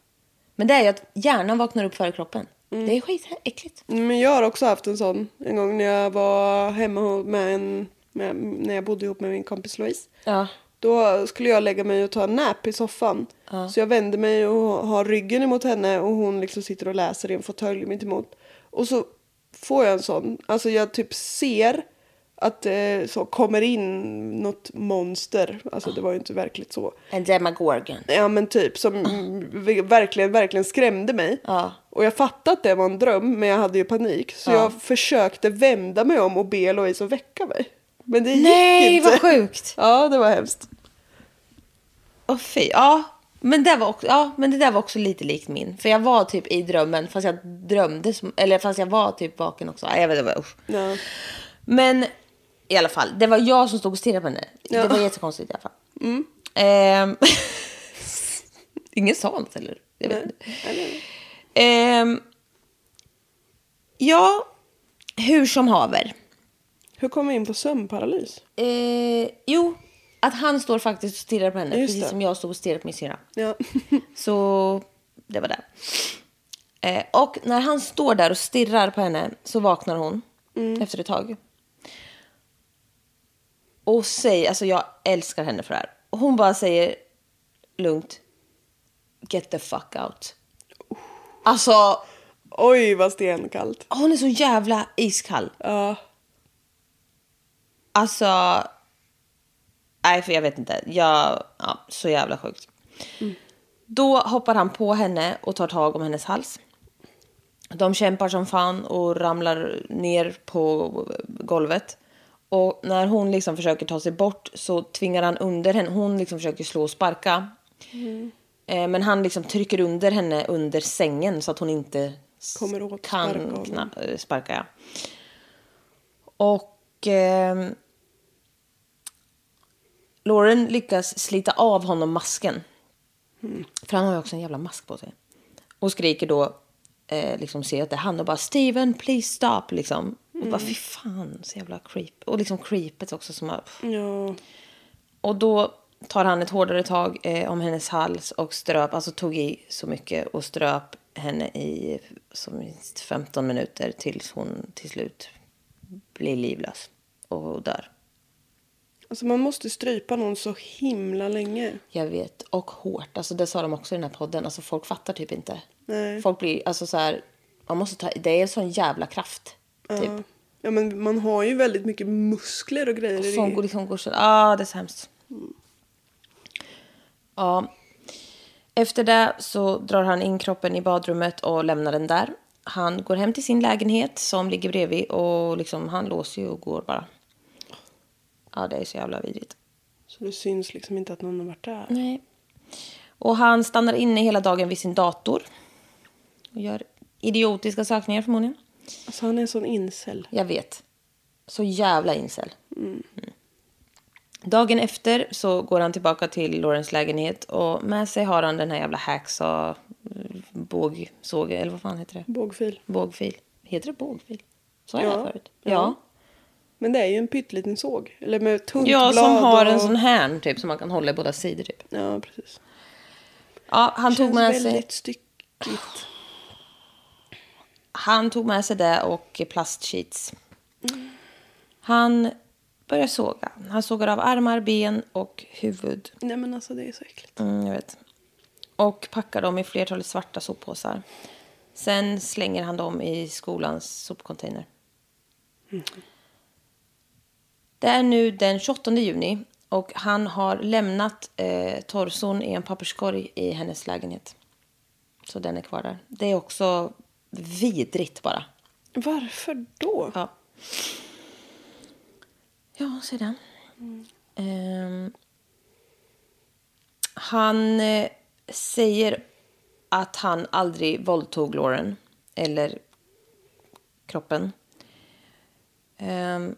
A: Men det är ju att hjärnan vaknar upp före kroppen. Det är skitäckligt.
B: Men jag har också haft en sån en gång när jag var hemma med en... Med, när jag bodde ihop med min kompis Louise.
A: Ja.
B: Då skulle jag lägga mig och ta en nap i soffan. Så jag vänder mig och har ryggen emot henne och hon liksom sitter och läser i en fåtölj mitt emot. Och så får jag en sån, alltså jag typ ser att det så kommer in något monster. Alltså det var ju inte verkligt så.
A: En demagorgon.
B: Ja men typ som v- verkligen, verkligen skrämde mig.
A: Ja.
B: Och jag fattade att det var en dröm men jag hade ju panik. Så jag försökte vända mig om och be Louise att väcka mig. Men det gick
A: Nej,
B: inte.
A: vad sjukt.
B: Ja det var hemskt.
A: Åh fy, ja. Men, det var också, ja, men det där var också lite likt min. För jag var typ i drömmen fast jag drömde, som, eller fast jag var typ vaken också. Nej, Jag vet inte, usch.
B: Ja.
A: Men i alla fall, det var jag som stod och stirrade på henne. Det var jättekonstigt i alla fall.
B: Mm.
A: Ehm, <laughs> ingen sa något eller? Jag vet inte. Ehm, ja, hur som haver.
B: Hur kom vi in på sömnparalys?
A: Eh, jo, att han står faktiskt och stirrar på henne.
B: Just
A: precis
B: det.
A: som jag stod och stirrade på min syrra.
B: Ja. <laughs>
A: Så det var det. Eh, och när han står där och stirrar på henne så vaknar hon efter ett tag. Och säger, alltså jag älskar henne för det här. Och hon bara säger lugnt, get the fuck out. Alltså,
B: Oj vad stenkallt.
A: hon är så jävla iskall.
B: Ja.
A: Alltså... Nej, för jag vet inte. Jag, ja, så jävla sjukt. Då hoppar han på henne och tar tag om hennes hals. De kämpar som fan och ramlar ner på golvet. Och när hon liksom försöker ta sig bort så tvingar han under henne. Hon liksom försöker slå och sparka.
B: Mm.
A: Eh, Men han liksom trycker under henne under sängen så att hon inte s-
B: Kommer åt
A: kan
B: sparka honom.
A: kna- eh, sparka. Ja. Och ehm, Lauren lyckas slita av honom masken. För han har ju också en jävla mask på sig. Och skriker då, eh, liksom ser att det är han och bara Steven please stop liksom. Och bara fy fan så jävla creep. Och liksom creepet också som har...
B: Ja.
A: Och då tar han ett hårdare tag eh, om hennes hals och ströp, alltså tog i så mycket och ströp henne i som minst 15 minuter tills hon till slut blir livlös och dör.
B: Alltså man måste strypa någon så himla länge.
A: Jag vet, och hårt. Alltså det sa de också i den här podden. Alltså folk fattar typ inte.
B: Nej.
A: Folk blir, alltså så här, man måste ta, det är en sån jävla kraft. Typ.
B: Ja. ja men man har ju väldigt mycket muskler och grejer i
A: Som går, liksom går så, ah, det är så hemskt. Ja. Efter det så drar han in kroppen i badrummet och lämnar den där. Han går hem till sin lägenhet som ligger bredvid och liksom, han låser ju och går bara. Ja, det är så jävla vidrigt.
B: Så det syns liksom inte att någon har varit där.
A: Nej. Och han stannar inne hela dagen vid sin dator. Och gör idiotiska sökningar förmodligen.
B: Alltså han är en sån incel.
A: Jag vet. Så jävla incel. Mm. Dagen efter så går han tillbaka till Laurens lägenhet och med sig har han den här jävla hacksaw, bågsåg, eller vad fan heter det?
B: Bågfil.
A: Bågfil. Heter det bågfil? Sa jag
B: Ja.
A: det förut? Ja.
B: Men det är ju en pytteliten såg. Eller med tunt
A: Ja,
B: blad.
A: som har
B: och...
A: en sån här typ som man kan hålla i båda sidor typ.
B: Ja, precis.
A: Ja, han tog
B: Känns
A: med sig.
B: väldigt styckigt.
A: Han tog med sig det och plastsheets.
B: Mm.
A: Han börjar såga. Han sågar av armar, ben och huvud.
B: Nej men alltså det är så äckligt.
A: Mm, jag vet. Och packar dem i flertalet svarta soppåsar. Sen slänger han dem i skolans sopcontainer. Det är nu den 28 juni och han har lämnat eh, torson i en papperskorg i hennes lägenhet. Så den är kvar där. Det är också vidrigt bara.
B: Varför då?
A: Ja. Ja, se den. Ehm, han eh, säger att han aldrig våldtog Lauren eller kroppen. Ehm,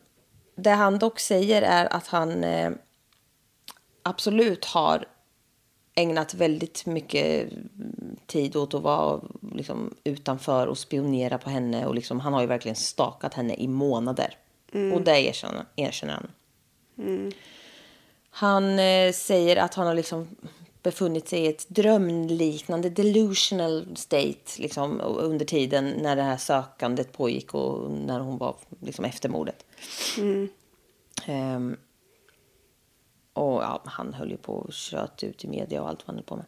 A: det han dock säger är att han eh, absolut har ägnat väldigt mycket mm, tid åt att vara liksom, utanför och spionera på henne. Och liksom, han har ju verkligen stakat henne i månader. Och det erkänner, erkänner han. Han eh, säger att han har liksom befunnit sig i ett drömliknande delusional state liksom, o- under tiden när det här sökandet pågick och när hon var liksom, efter mordet. Ehm, och ja, han höll ju på och tjöt ut i media och allt vad han höll på med.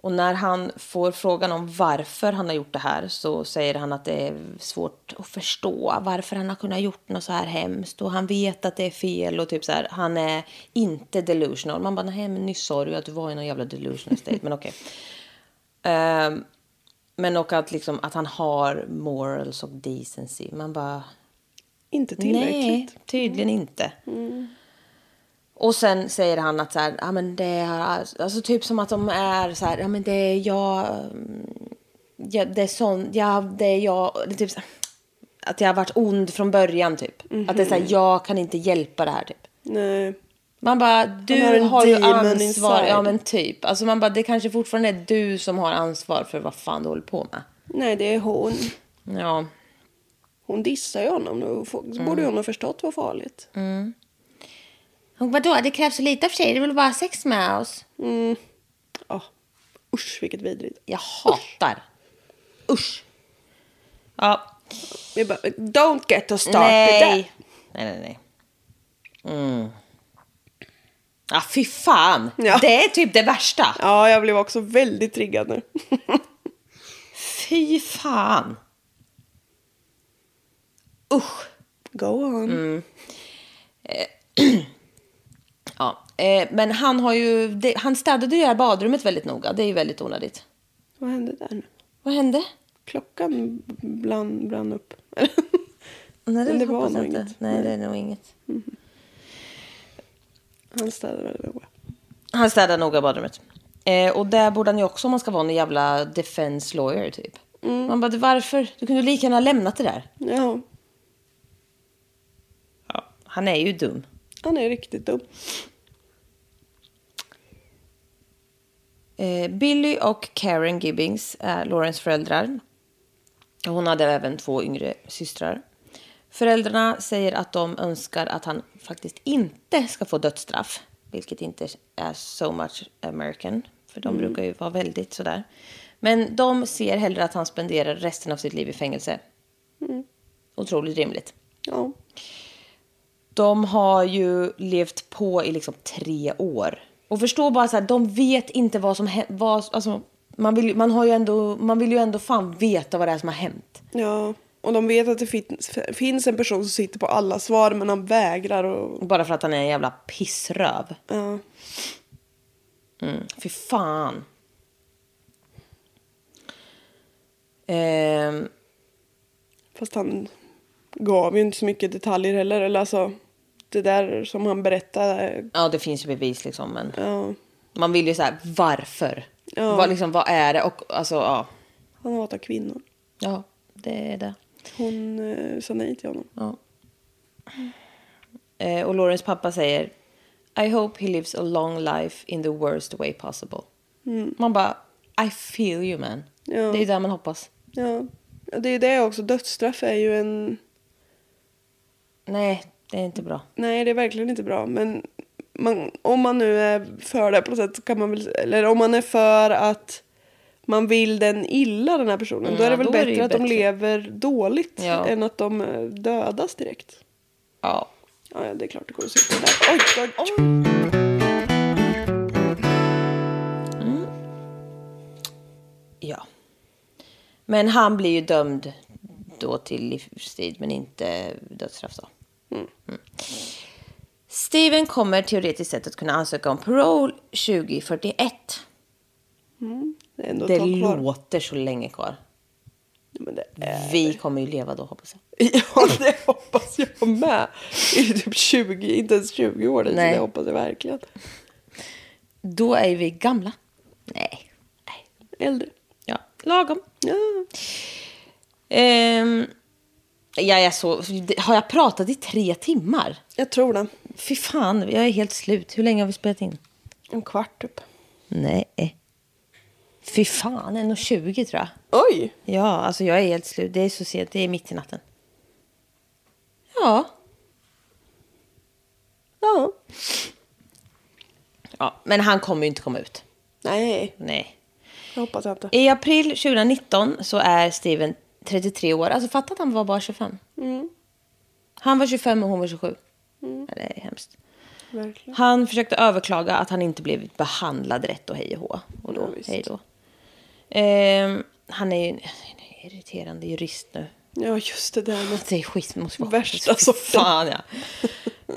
A: Och när han får frågan om varför han har gjort det här så säger han att det är svårt att förstå varför han har kunnat gjort något så här hemskt och han vet att det är fel och typ så här, han är inte delusional. Man bara, nej men nyss sa du ju att du var i någon jävla delusional state, men okej. Ehm, men och att liksom att han har morals och decency. Man bara,
B: Inte tillräckligt.
A: Nej, tydligen inte. Och sen säger han att så här, ja men det är, alltså typ som att de är så här, ja men det är jag, mm, ja, det är sån, ja det är jag, det är typ så här, att jag har varit ond från början typ. Att det är så här, jag kan inte hjälpa det här typ.
B: Nej.
A: Man bara, du
B: har
A: har,
B: en
A: ju
B: demon
A: ansvar.
B: inside.
A: Ja men typ. Alltså man bara, det kanske fortfarande är du som har ansvar för vad fan du håller på med.
B: Nej, det är hon.
A: Ja.
B: Hon dissar ju honom nu. Så
A: Mm.
B: borde hon ha förstått vad farligt.
A: Och vadå, det krävs så lite av tjejer, det vill bara ha sex med oss.
B: Ja. Usch, vilket vidrigt.
A: Jag hatar. Usch. Ja.
B: Vi bara, don't get us started.
A: Nej. Nej, nej, nej. Mm. Ja, fy fan.
B: Ja.
A: Det är typ det värsta.
B: Ja, jag blev också väldigt triggad nu. <laughs>
A: Fy fan. Usch.
B: Go on.
A: Mm. Ja. Eh, men han har ju... Det, han städade ju det här badrummet väldigt noga. Det är ju väldigt onödigt.
B: Vad hände där nu?
A: Vad hände?
B: Klockan brann, brann upp. <laughs>
A: Nej,
B: Men det var
A: hoppas jag
B: nog
A: inte.
B: inget.
A: Nej, det är nog inget.
B: Han städade väldigt noga.
A: Han städade noga badrummet. Eh, och där borde han ju också om man ska vara en jävla defense lawyer typ. Man bara, varför? Du kunde lika gärna ha lämnat det där.
B: Ja,
A: Ja. Han är ju dum.
B: han är riktigt dum.
A: Eh, Billy och Karen Gibbings är Laurens föräldrar. Hon hade även två yngre systrar. Föräldrarna säger att de önskar att han faktiskt inte ska få dödsstraff. Vilket inte är so much American. För de brukar ju vara väldigt sådär. Men de ser hellre att han spenderar resten av sitt liv i fängelse. Otroligt rimligt.
B: Ja.
A: De har ju levt på i liksom tre år. Och förstå bara så här, de vet inte vad som hänt. Alltså, man, vill, man, har ju ändå, man vill ju ändå fan veta vad det är som har hänt.
B: ja. Och de vet att det finns, finns en person som sitter på alla svar men han vägrar och...
A: Bara för att han är en jävla pissröv. Mm,
B: Ja.
A: Fy fan. Ehm,
B: Fast han gav ju inte så mycket detaljer heller. Eller alltså, det där som han berättade.
A: ja, det finns ju bevis liksom. Men
B: Ja.
A: man vill ju så här, varför?
B: Ja.
A: Vad, liksom, vad är det? Och alltså, ja.
B: Han hatar kvinnor.
A: Ja, det är det.
B: Hon eh, sa nej till honom.
A: Ja. Eh, och Laurens pappa säger I hope he lives a long life in the worst way possible. Man bara I feel you man.
B: Ja.
A: Det är där man hoppas.
B: Ja. Det är ju det också. Dödsstraff är ju en...
A: Nej, det är inte bra.
B: Nej, det är verkligen inte bra. Men man, om man nu är för det på något sätt så kan man väl, eller om man är för att man vill den illa den här personen,
A: Mm,
B: då är det
A: ja, då
B: väl
A: är det
B: bättre
A: ju
B: att de
A: bättre.
B: lever dåligt
A: Ja.
B: än att de eh, dödas direkt.
A: Ja.
B: Ja, ja, det är klart det går att sitta där. Oj, oj, oj.
A: Ja. Men han blir ju dömd då till livstid, men inte dödsstraff då. Mm. Steven kommer teoretiskt sett att kunna ansöka om parole 2041.
B: Det är ändå ett
A: Det
B: tag kvar.
A: låter så länge kvar.
B: Ja, Men det är...
A: Vi kommer ju leva då, hoppas jag. <laughs>
B: Ja, det hoppas jag med. I typ 20, inte ens 20 år. Nej.
A: Nej.
B: Det hoppas jag verkligen.
A: Då är vi gamla. Nej. Nej.
B: Äldre.
A: Ja, lagom.
B: Ja.
A: Ehm, ja, jag så, har jag pratat i tre timmar?
B: Jag tror det.
A: Fy fan, jag är helt slut. Hur länge har vi spelat in?
B: En kvart typ.
A: Nej. Fy fan, 1.20 tror jag.
B: Oj!
A: Ja, alltså jag är helt slut. Det är så sent, det är mitt i natten. Ja.
B: Ja.
A: ja men han kommer ju inte komma ut.
B: Nej,
A: Nej.
B: jag hoppas jag inte.
A: I april 2019 så är Steven 33 år. Alltså fatta att han var bara 25.
B: Mm.
A: Han var 25 och hon var 27. Ja, Det är hemskt.
B: Verkligen.
A: Han försökte överklaga att han inte blivit behandlad rätt och hej och hå. Och då,
B: Ja, visst.
A: hej då. Ehm, han är ju en en irriterande jurist nu.
B: Ja, just det där
A: <laughs>
B: med...
A: Det är skit, det måste vara
B: Värsta
A: skit.
B: sorten.
A: Fan ja.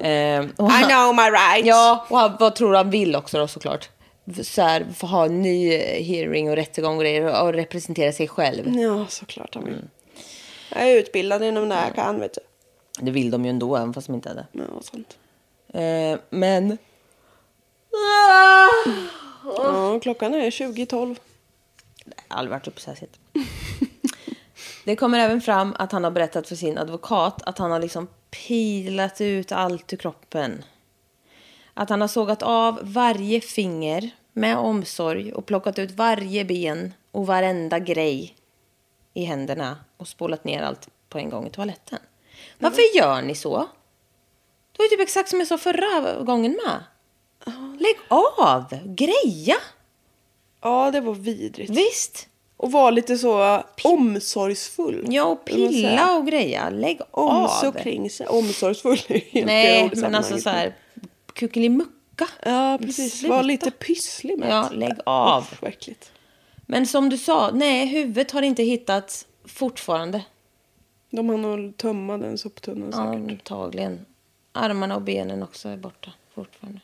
A: Ehm, och
B: I
A: han-
B: know my rights!
A: Ja, och han, vad tror du han vill också då såklart? Så här, få ha en ny eh, hearing och rättegång och grejer och representera sig själv.
B: Ja, såklart han vill. Jag är utbildad inom det jag kan, vet du.
A: Det vill de ju ändå, även fast de inte hade.
B: Ja, sant.
A: Eh, men...
B: Ja, klockan är 20.12.
A: Jag har aldrig varit uppe så här sent. Det kommer även fram att han har berättat för sin advokat att han har liksom pilat ut allt ur kroppen. Att han har sågat av varje finger med omsorg och plockat ut varje ben och varenda grej i händerna och spolat ner allt på en gång i toaletten. Varför gör ni så? Det var ju typ exakt som jag sa förra gången med. Lägg av! Greja!
B: Ja, det var vidrigt.
A: Visst!
B: Och var lite så omsorgsfull.
A: Ja, och
B: Vill man säga.
A: pilla och greja. Lägg
B: om
A: av.
B: sig och kring sig. Omsorgsfull är helt fel
A: Nej,
B: ord i
A: men alltså
B: sammanhanget.
A: så här kuckelimucka.
B: Ja, precis.
A: Sluta.
B: Var lite pysslig med
A: Ja,
B: det.
A: lägg av.
B: Usch, vad äckligt.
A: Men som du sa, nej, huvudet har inte hittats fortfarande.
B: De hann nog tömma den soptunnan säkert.
A: Antagligen. Armarna och benen också är borta fortfarande.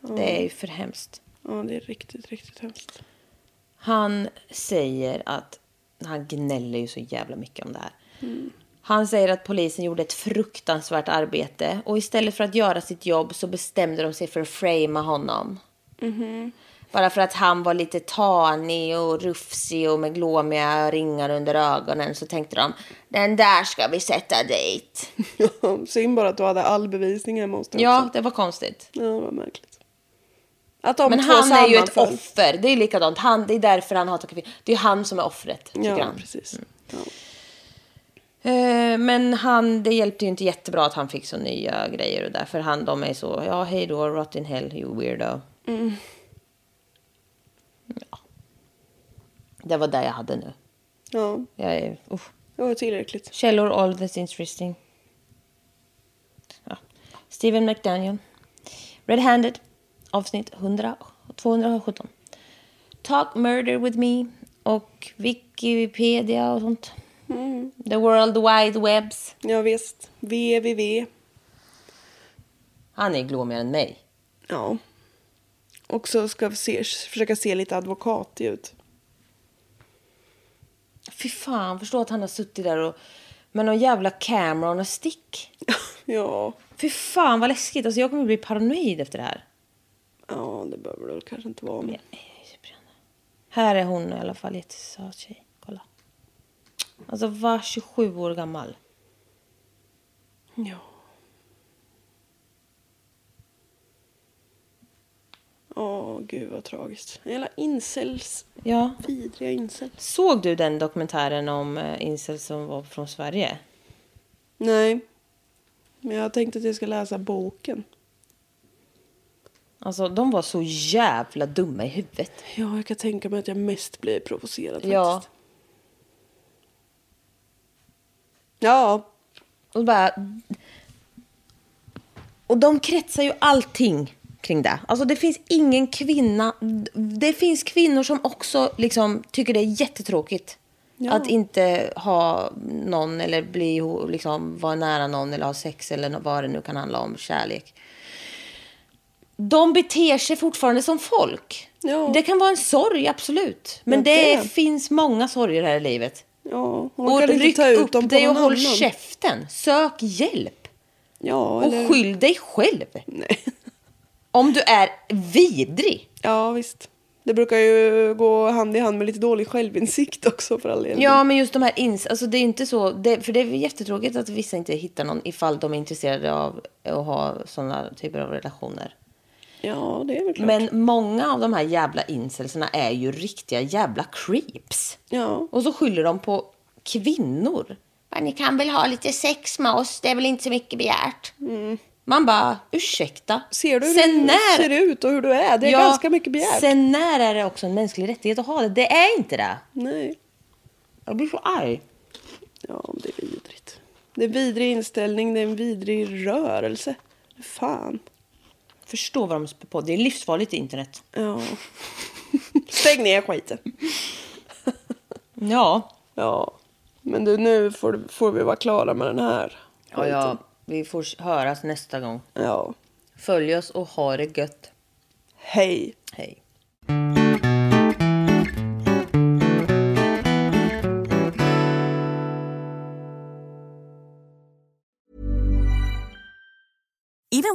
A: Det är ju för hemskt.
B: Ja, det är riktigt, riktigt hemskt. <laughs>
A: Han säger att... Han gnäller ju så jävla mycket om det här.
B: Mm.
A: Han säger att polisen gjorde ett fruktansvärt arbete och istället för att göra sitt jobb så bestämde de sig för att framea honom.
B: Mm-hmm.
A: Bara för att han var lite tanig och rufsig och med glåmiga ringar under ögonen så tänkte de den där ska vi sätta
B: <laughs>
A: dit.
B: Synd bara att du hade all bevisning hemma hos dig
A: Ja,
B: också.
A: det var konstigt.
B: Ja, vad märkligt. Att de
A: Men
B: två
A: han är ju ett
B: sammanföll.
A: offer. Det är likadant. Han, det är därför han hatar kvinnor. Det är han som är offret. tycker
B: Ja,
A: han.
B: precis. Ja.
A: Eh, Men han, det hjälpte ju inte jättebra att han fick så nya grejer och därför han, de är så, ja hej då, rot in hell, you weirdo. Ja. Det var det jag hade nu.
B: ja,
A: Jag är, uh.
B: det var tillräckligt.
A: Källor all that's interesting. Ja. Steven McDaniel. Red-handed. Avsnitt 100, 217. Talk murder with me. Och Wikipedia och sånt. The world wide webs.
B: Ja, visst. VVV.
A: Han är glåmigare än mig.
B: Ja. Och så ska vi se, försöka se lite advokatig ut. <laughs>
A: Fy fan, förstå att han har suttit där och med någon jävla camera och någon stick.
B: ja.
A: Fy fan vad läskigt. Alltså jag kommer bli paranoid efter det här.
B: Ja, det behöver du kanske inte vara. Men...
A: Här är hon i alla fall, jättesöt tjej. Kolla. Alltså var 27 år gammal.
B: Ja. Åh, gud vad tragiskt. Hela incels.
A: Ja.
B: Vidriga incels.
A: Såg du den dokumentären om eh, incel som var från Sverige?
B: Nej. Men jag tänkte att jag ska läsa boken.
A: Alltså de var så jävla dumma i huvudet.
B: Ja, jag kan tänka mig att jag mest blir provocerad faktiskt.
A: Ja.
B: Ja.
A: Och bara... Och de kretsar ju allting kring det. Alltså det finns ingen kvinna... Det finns kvinnor som också liksom tycker det är jättetråkigt.
B: Ja.
A: Att inte ha någon eller bli, ihop- liksom, vara nära någon eller ha sex eller nå- vad det nu kan handla om, kärlek. De beter sig fortfarande som folk.
B: Ja.
A: Det kan vara en sorg, absolut. Men
B: Ja,
A: det,
B: det.
A: finns många sorger här i livet.
B: Ja, hon
A: Och
B: kan
A: ryck
B: inte ta
A: upp
B: ut dem på
A: dig och
B: någon
A: håll
B: annan.
A: käften. Sök hjälp.
B: Ja,
A: Och
B: eller...
A: skyll dig själv.
B: Nej.
A: Om du är vidrig.
B: Ja, visst. Det brukar ju gå hand i hand med lite dålig självinsikt också för all del.
A: Ja, men just de här ins... Alltså det är inte så... Det, för det är jättetråkigt att vissa inte hittar någon ifall de är intresserade av att ha sådana typer av relationer.
B: ja, det är väl klart.
A: Men många av de här jävla incelserna är ju riktiga jävla creeps.
B: Ja.
A: Och så skyller de på kvinnor. Bara, Ni kan väl ha lite sex med oss, det är väl inte så mycket begärt. Man bara, ursäkta.
B: Mm. Ser du
A: Sen
B: hur
A: när-
B: du ser ut och hur du är? Det är
A: Ja,
B: ganska mycket begärt.
A: Sen när är det också en mänsklig rättighet att ha det? Det är inte det.
B: Nej.
A: Jag blir så arg.
B: Ja, men det är vidrigt. Det är en vidrig inställning, det är en vidrig rörelse. Fan.
A: Förstå vad de spär på. Det är livsfarligt internet.
B: Ja. Stäng ner skiten.
A: Ja.
B: Ja. Men du, nu får, du- får vi vara klara med den här.
A: ja, ja. Vi får höras nästa gång.
B: Ja.
A: Följ oss och ha det gött.
B: Hej.
A: Hej.
D: Even